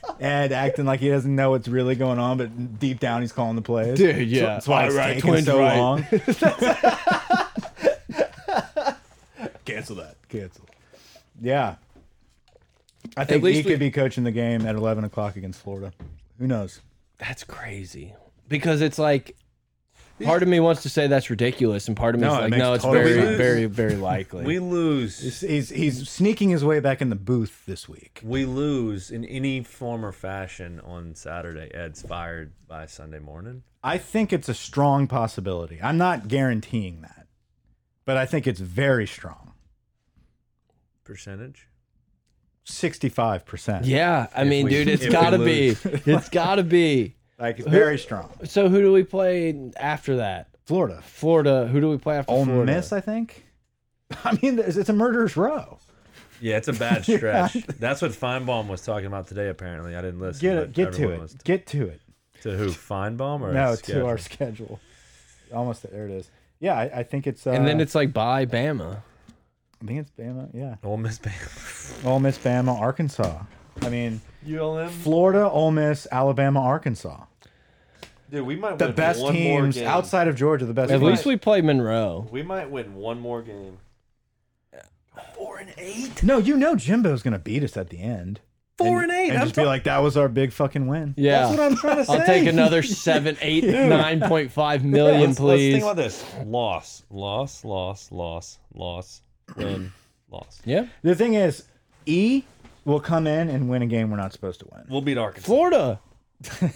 Ed acting like he doesn't know what's really going on, but deep down he's calling the plays. Dude, yeah. that's why it's All right, taking twins so right. long. Cancel that. Cancel. Yeah. I think least he we- could be coaching the game at 11 o'clock against Florida. Who knows? That's crazy. Because it's like part of me wants to say that's ridiculous and part of me No, is it like makes no, it's total very sense. very very likely. We lose. He's, he's, he's sneaking his way back in the booth this week. We lose in any form or fashion on Saturday. Ed's fired by Sunday morning. I think it's a strong possibility. I'm not guaranteeing that, but I think it's very strong. Percentage. 65%. yeah, I mean we- dude, it's if we got to be. lose. It's got to be. Like, it's very strong. So who do we play after that? Florida. Florida, who do we play after Ole Florida? Miss, I think. I mean, there's- it's a murderer's row. Yeah, it's a bad stretch. That's what Feinbaum was talking about today. Apparently, I didn't listen. Get but it. Get to everyone it. was- Get to it. to who? Feinbaum or No, his to our schedule? schedule. Almost there. It is. Yeah, I, I think it's. Uh, and then it's like bye Bama. I think it's Bama. Yeah. Ole Miss Bama. Ole Miss, Bama, Arkansas. I mean, ULM. Florida, Ole Miss, Alabama, Arkansas. Dude, we might The win best one more teams game. outside of Georgia. The best. At teams. least we play Monroe. We might win one more game. Four and eight. No, you know Jimbo's gonna beat us at the end. Four And- and eight. And I'm just be like, that was our big fucking win. Yeah. That's what I'm trying to say. I'll take another seven, eight, nine point five million, Let's, let's please. think about this. Loss, loss, loss, loss, loss, win, loss. yeah. The thing is, E will come in and win a game we're not supposed to win. We'll beat Arkansas. Florida.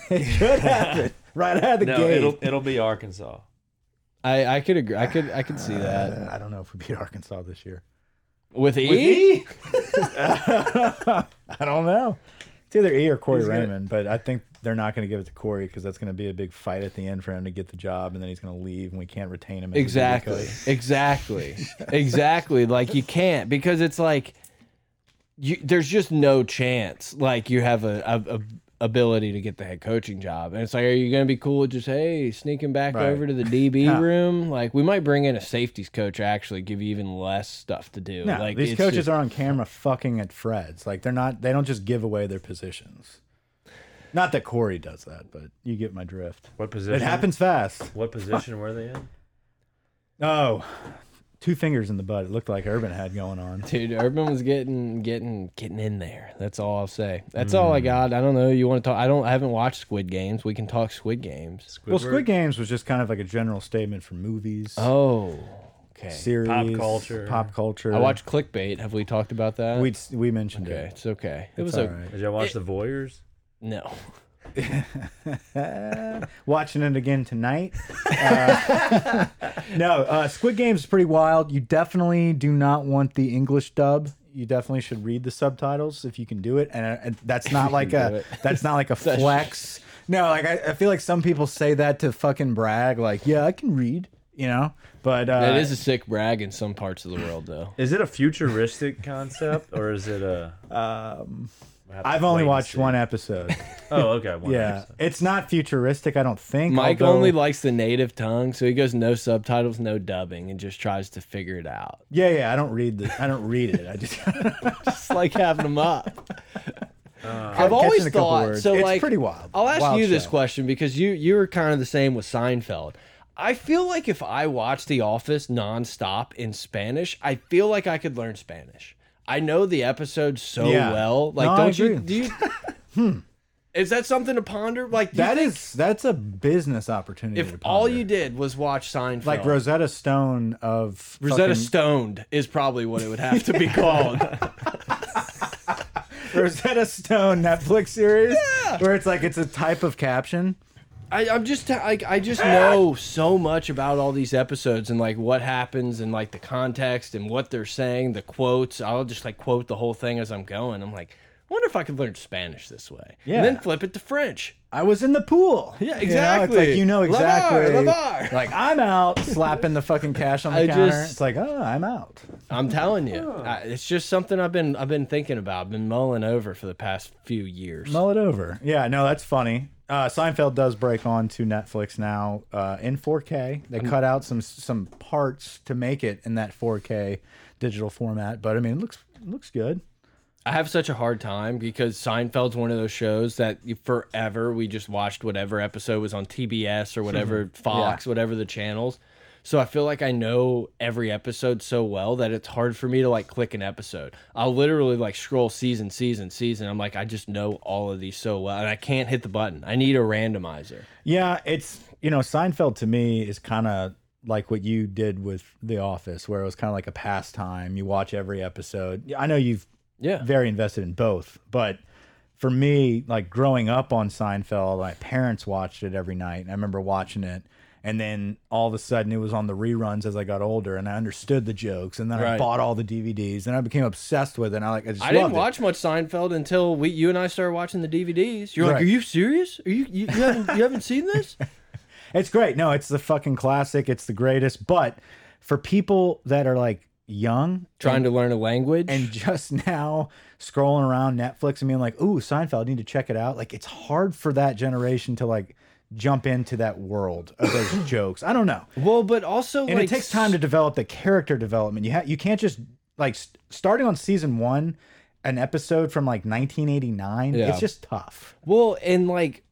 Could happen right out of the no, gate. it'll it'll be Arkansas. I, I could agree. I could I could see that. Uh, I don't know if we beat Arkansas this year. With E? I don't know. It's either E or Corey gonna- Raymond, but I think they're not going to give it to Corey because that's going to be a big fight at the end for him to get the job, and then he's going to leave, and we can't retain him. as a Exactly. coach. Exactly. exactly. Like you can't because it's like you there's just no chance like you have a, a, a ability to get the head coaching job. And it's like are you going to be cool with just hey, sneaking back Right. over to the DB Yeah. room? Like we might bring in a safeties coach actually give you even less stuff to do. No, like these it's coaches just- are on camera fucking at Fred's. Like they're not. They don't just give away their positions. Not that Corey does that, but you get my drift. What position? It happens fast. What position were they in? Oh, two fingers in the butt. It looked like Urban had going on. Dude, Urban was getting getting getting in there. That's all I'll say. That's all Mm. I got. I don't know. You want to talk? I don't. I haven't watched Squid Games. We can talk Squid Games. Squidward? Well, Squid Games was just kind of like a general statement for movies, Oh, okay. series, Pop culture. pop culture. I watched Clickbait. Have we talked about that? We we mentioned okay. it. It's okay. It It's was a all right. Did y'all watch the Voyeurs? no. Uh, Watching it again tonight. Uh, no, uh, Squid Game's pretty wild. You definitely do not want the English dub. You definitely should read the subtitles if you can do it, and, uh, and that's not like do a it. that's not like a flex. No, like I, I feel like some people say that to fucking brag, like yeah, I can read, you know. But uh, That is a sick brag in some parts of the world, though. Is it a futuristic concept or is it a? Um, I've only watched one episode. Oh, okay. One Yeah, episode. it's not futuristic, I don't think. Mike although- only likes the native tongue, so he goes no subtitles, no dubbing, and just tries to figure it out. yeah, yeah. I don't read the. I don't read it. I just. It's like having them up. I've catching always a couple thought words. so. It's like, pretty wild. I'll ask Wild you this show. question because you you were kind of the same with Seinfeld. I feel like if I watched The Office nonstop in Spanish, I feel like I could learn Spanish. I know the episodes so Yeah. well. Like, No, I don't you? agree. Do you? Hmm. Is that something to ponder? Like, do you That think is that's a business opportunity. if to all ponder. you did was watch Seinfeld, like Rosetta Stone of Rosetta fucking- Stoned is probably what it would have to be called. Rosetta Stone Netflix series, where it's like it's a type of caption. I, I'm just like I just know so much about all these episodes and like what happens and like the context and what they're saying, the quotes. I'll just like quote the whole thing as I'm going. I'm like, I wonder if I could learn Spanish this way. Yeah. And then flip it to French. I was in the pool. Yeah, You know, it's exactly. like you know exactly. Lavar, Lavar. Like I'm out slapping the fucking cash on the I counter. just- it's like oh, I'm out. I'm telling you, I, it's just something I've been I've been thinking about, been mulling over for the past few years. Mull it over. Yeah, no, that's funny. Uh, Seinfeld does break on to Netflix now uh, in 4K. Mm. They cut out some some parts to make it in that 4K digital format, but I mean, it looks it looks good. I have such a hard time because Seinfeld's one of those shows that you- forever we just watched whatever episode was on TBS or Mm-hmm. whatever Fox, whatever the channels. So I feel like I know every episode so well that it's hard for me to like click an episode. I'll literally like scroll season, season, season. I'm like, I just know all of these so well, and I can't hit the button. I need a randomizer. Yeah, it's you know, Seinfeld to me is kind of like what you did with The Office, where it was kind of like a pastime. You watch every episode. Yeah, I know you've Yeah, very invested in both. But for me, like growing up on Seinfeld, my parents watched it every night. And I remember watching it. And then all of a sudden it was on the reruns as I got older and I understood the jokes. And then I Right. bought all the DVDs and I became obsessed with it. And I like, I just I didn't loved it. watch much Seinfeld until we, you and I started watching the DVDs. You're like, Right. are you serious? Are you you, you haven't you haven't seen this? It's great. No, it's the fucking classic. It's the greatest. But for people that are like, young trying to learn a language. and just now scrolling around Netflix and being like, "Ooh, Seinfeld, need to check it out." Like it's hard for that generation to like jump into that world of those jokes. I don't know. well, but also And like, it takes time to develop the character development. You ha you can't just like st starting on season 1 an episode from like 1989. Yeah. It's just tough. Well, and like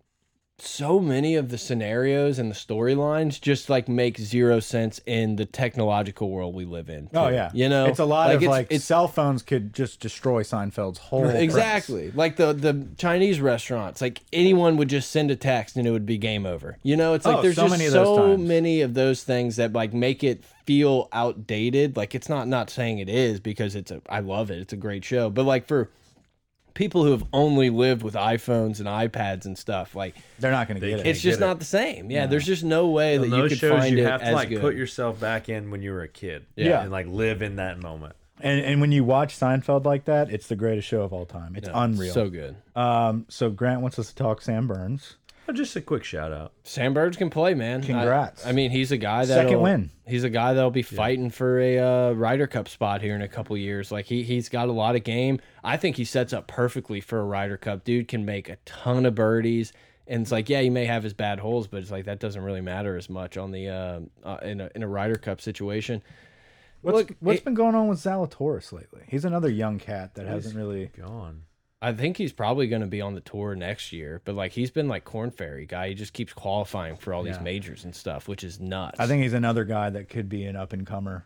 so many of the scenarios and the storylines just like make zero sense in the technological world we live in. Oh too. yeah. You know, It's a lot of it's- like it's cell phones could just destroy Seinfeld's whole premise. Exactly. Like the the Chinese restaurants, like anyone would just send a text and it would be game over. You know, it's like Oh, there's so just many of those so times. many of those things that like make it feel outdated. Like it's not not saying it is because it's a I love it. It's a great show. But like for people who have only lived with iPhones and iPads and stuff, like They're not going to get it. it's get just it. not the same. Yeah, there's just no way that On you those could shows, find you it have to as like good. put yourself back in when you were a kid, Yeah. and like live in that moment. And and when you watch Seinfeld like that, it's the greatest show of all time. It's unreal. so good. Um, so Grant wants us to talk Sam Burns. Oh, just a quick shout out. Sam Burns can play, man. I- Congrats. I, mean, he's a guy that Second win. He's a guy that'll be fighting for a uh, Ryder Cup spot here in a couple years. Like he he's got a lot of game. I think he sets up perfectly for a Ryder Cup. Dude can make a ton of birdies. And it's like, yeah, he may have his bad holes, but it's like that doesn't really matter as much on the uh, uh, in a in a Ryder Cup situation. What's Look, what's it- been going on with Zalatoris lately? He's another young cat that hasn't really. Gone. I think he's probably going to be on the tour next year, but like he's been like Corn Fairy guy. He just keeps qualifying for all these majors and stuff, which is nuts. I think he's another guy that could be an up and comer.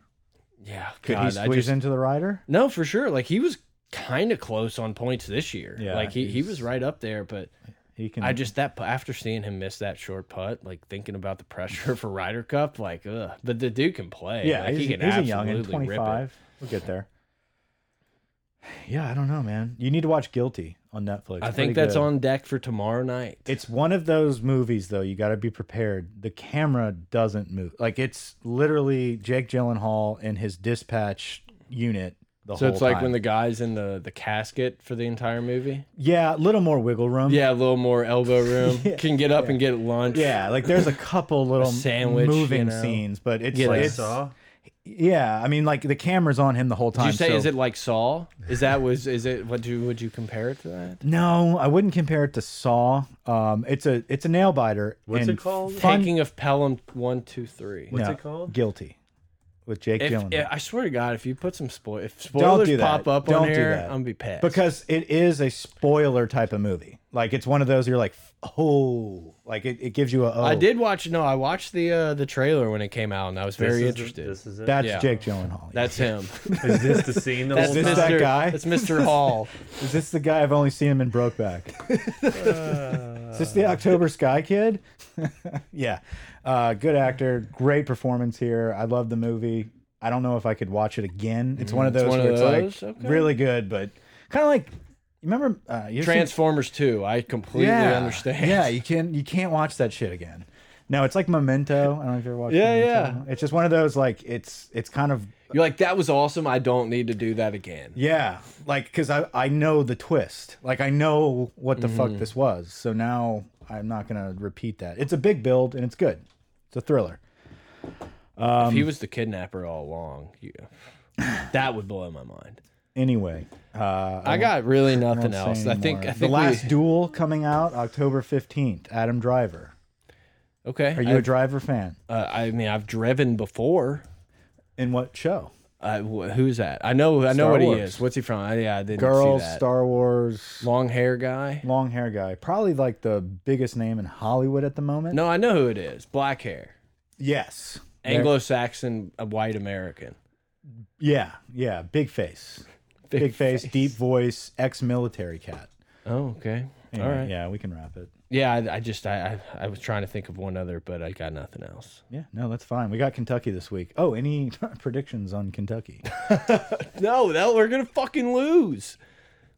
yeah. Could God, he I squeeze just- into the rider? No, for sure. Like he was kind of close on points this year. Yeah, like he, he he's- was right up there, but He can. I just that after seeing him miss that short putt, like thinking about the pressure for Ryder Cup, like ugh. But the dude can play. yeah, like, he's, he can he's a young absolutely and rip it. twenty five. We'll get there. Yeah, I don't know, man. You need to watch Guilty on Netflix. I It's pretty think that's good. on deck for tomorrow night. It's one of those movies though. You got to be prepared. The camera doesn't move. Like it's literally Jake Gyllenhaal in his dispatch unit. The so whole it's like time. when the guy's in the the casket for the entire movie. yeah, a little more wiggle room. Yeah, a little more elbow room. Can get up and get lunch. Yeah, like there's a couple little sandwich, you moving know. scenes, but it's Get like a it's- Saw. yeah. I mean, like the camera's on him the whole Did time. you say so- is it like Saw? Is that was is it what do would you compare it to that? No, I wouldn't compare it to Saw. Um, it's a it's a nail biter. What's and it called? Fun, Taking of Pelham one two three. What's no, it called? Guilty, with Jake If, Gyllenhaal. if- I swear to God, if you put some spoil, if spoilers do that. pop up Don't on do here, that. I'm gonna be pissed. because it is a spoiler type of movie. Like it's one of those you're like, oh, like it, it gives you a. Oh, I did watch. No, I watched the uh, the trailer when it came out, and I was This very is it- interested. This is it. That's Yeah. Jake Gyllenhaal. That's him. is this the scene? The That's whole this time? that Mr. guy? That's Mr. Hall. is this the guy I've only seen him in Brokeback? is this the October Sky Kid? yeah, uh, good actor, great performance here. I love the movie. I don't know if I could watch it again. It's one of those Mm-hmm. one where of it's those? like Okay. really good, but kind of like you remember uh, you've seen Transformers Two. I completely understand. Yeah, you can you can't watch that shit again. No, it's like Memento. I don't know if you ever watched. Yeah, Memento. It's just one of those like it's it's kind of You're like that was awesome. I don't need to do that again. yeah, like because I I know the twist. Like I know what the Mm-hmm. fuck this was. So now I'm not gonna repeat that. It's a big build and it's good. It's a thriller. Um, if he was the kidnapper all along, you, that would blow my mind. Anyway, uh, I got really won't nothing say else. I think. anymore. I think the last we, duel coming out October fifteenth. Adam Driver. okay. Are you a Driver fan? I, uh, I mean, I've driven before. In what show? Uh, wh who's that? I know. I know Star what Wars. he is. What's he from? I, yeah, I didn't Girls, see that. Star Wars. long hair guy. long hair guy, probably like the biggest name in Hollywood at the moment. No, I know who it is. Black hair, Yes. Anglo-Saxon, a white American. Yeah. Yeah. Big face. Big, face, deep voice, ex-military cat. Oh, okay. Anyway, All right. Yeah, Yeah, we can wrap it. I, I just I, I I was trying to think of one other, but I got nothing else. Yeah. No, that's fine. We got Kentucky this week. Oh, any predictions on Kentucky? No, that we're gonna fucking lose.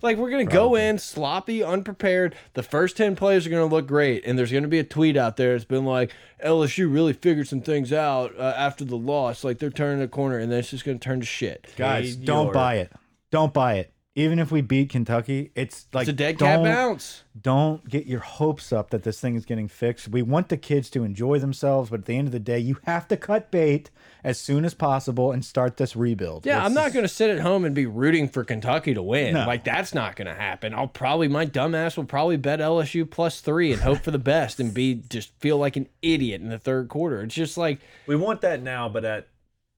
Like we're gonna go in sloppy, unprepared. The first ten players are gonna look great, and there's gonna be a tweet out there. It's been like LSU really figured some things out uh, after the loss. Like they're turning a corner, and then it's just gonna turn to shit. Guys, Fade don't your- buy it. Don't buy it. even if we beat Kentucky, it's like It's a dead cat don't, bounce. Don't get your hopes up that this thing is getting fixed. We want the kids to enjoy themselves, but at the end of the day, you have to cut bait as soon as possible and start this rebuild. Yeah, This I'm is- not going to sit at home and be rooting for Kentucky to win. No. Like that's not going to happen. I'll probably my dumbass will probably bet LSU plus three and hope for the best and be just feel like an idiot in the third quarter. It's just like We want that now, but at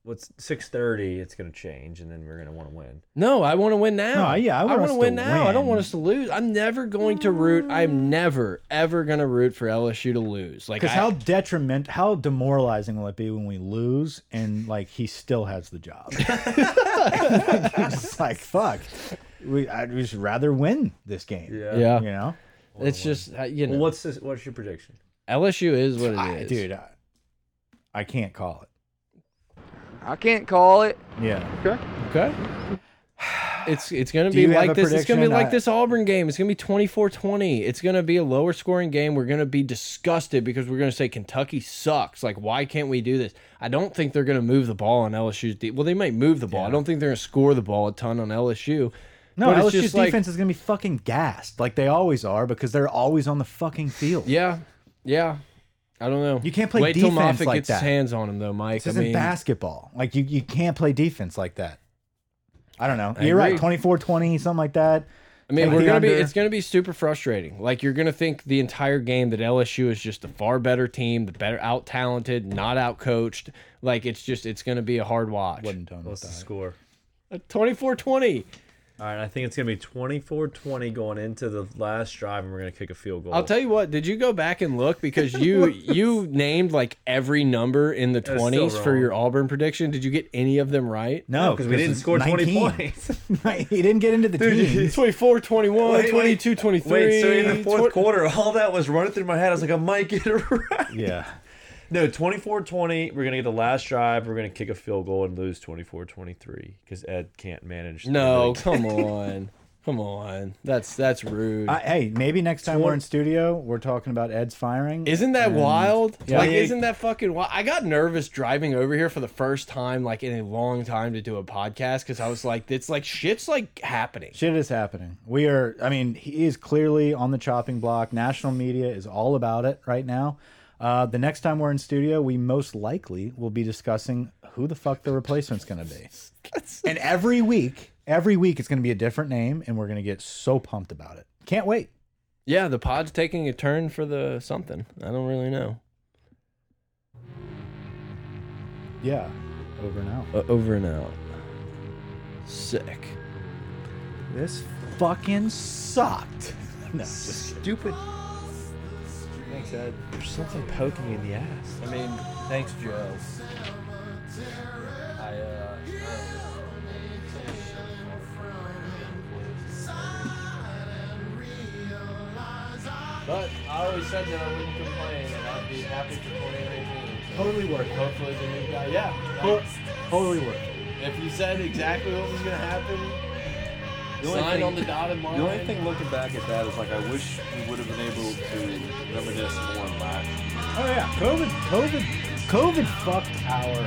what's six thirty, it's going to change, and then we're going to want to win. no, I want to win now. No, yeah, I want wanna us to win now. I don't win. want us to lose. I'm never going to root. I'm never ever going to root for LSU to lose. Like Because I- how detriment, how demoralizing will it be when we lose and like he still has the job? it's like fuck. We I'd just rather win this game. Yeah. yeah, You know, it's just uh, you know Well, what's this, what's your prediction? LSU is what it is, I, dude, I, I can't call it. I can't call it. Yeah, Okay. It's it's gonna Do be you have like a this. It's gonna be prediction? Uh, like I- this Auburn game. It's gonna be 24-20. It's gonna be a lower scoring game. We're gonna be disgusted because we're gonna say Kentucky sucks. Like, why can't we do this? I don't think they're gonna move the ball on LSU's de Well, they might move the ball. I don't think they're gonna score the ball a ton on LSU. no, But it's LSU's just like- defense is gonna be fucking gassed like they always are because they're always on the fucking field. Yeah. Yeah. I don't know. You can't play Wait till defense Moffitt like gets his that. hands on him though, Mike. This I isn't mean, basketball. Like you, you can't play defense like that. I don't know. I You're right. agree. 24-20, something like that. I mean, Take we're the gonna be. under. It's gonna be super frustrating. Like you're gonna think the entire game that LSU is just the far better team, the better out talented, not out coached. Like it's just it's gonna be a hard watch. Wouldn't tell me What's the that. score? 24-20. All right, I think it's going to be 24-20 going into the last drive, and we're going to kick a field goal. I'll tell you what. Did you go back and look because you you named like every number in the was still twenties for wrong. your Auburn prediction. Did you get any of them right? No, because we didn't it's score 20 19. points. Right, he didn't get into the team. 24, 21, Wait, wait. 22, 23. Wait, so in the fourth twen- quarter, all that was running through my head. I was like, I might get it right. Yeah. No, 24 20. We're going to get the last drive. We're going to kick a field goal and lose 24 23 because Ed can't manage. the No, league. come on. Come on. That's that's rude. I, Uh, hey, maybe next time we're in studio, we're talking about Ed's firing. Isn't that wild? Yeah. Like, Big- isn't that fucking wild? I got nervous driving over here for the first time, like in a long time, to do a podcast because I was like, it's like shit's like happening. Shit is happening. We are. I mean, he is clearly on the chopping block. National media is all about it right now. Uh, the next time we're in studio, we most likely will be discussing who the fuck the replacement's going to be. and every week, every week, it's going to be a different name, and we're going to get so pumped about it. Can't wait. Yeah, the pod's taking a turn for the something. I don't really know. Yeah. Over and out. Uh, over and out. Sick. This fucking sucked. No, just kidding. Stupid. Thanks, Ed. There's something poking me in the ass. I mean, thanks, Joe. I, uh, but I always said that I wouldn't complain, and I'd be happy for 2019. totally worth it. Hopefully, the new guy. Yeah. To- Totally worth it. if you said exactly what was gonna happen, The only sign thing- on the dotted line. The only thing looking back at that is like I wish we would have been able to reminisce more on last year. Oh yeah, COVID, COVID, COVID fucked our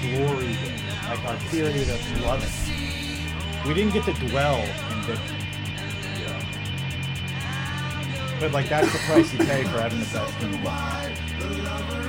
glory, days, like our period of loving. We didn't get to dwell in victory. But like that's the price you pay for having the best in the world.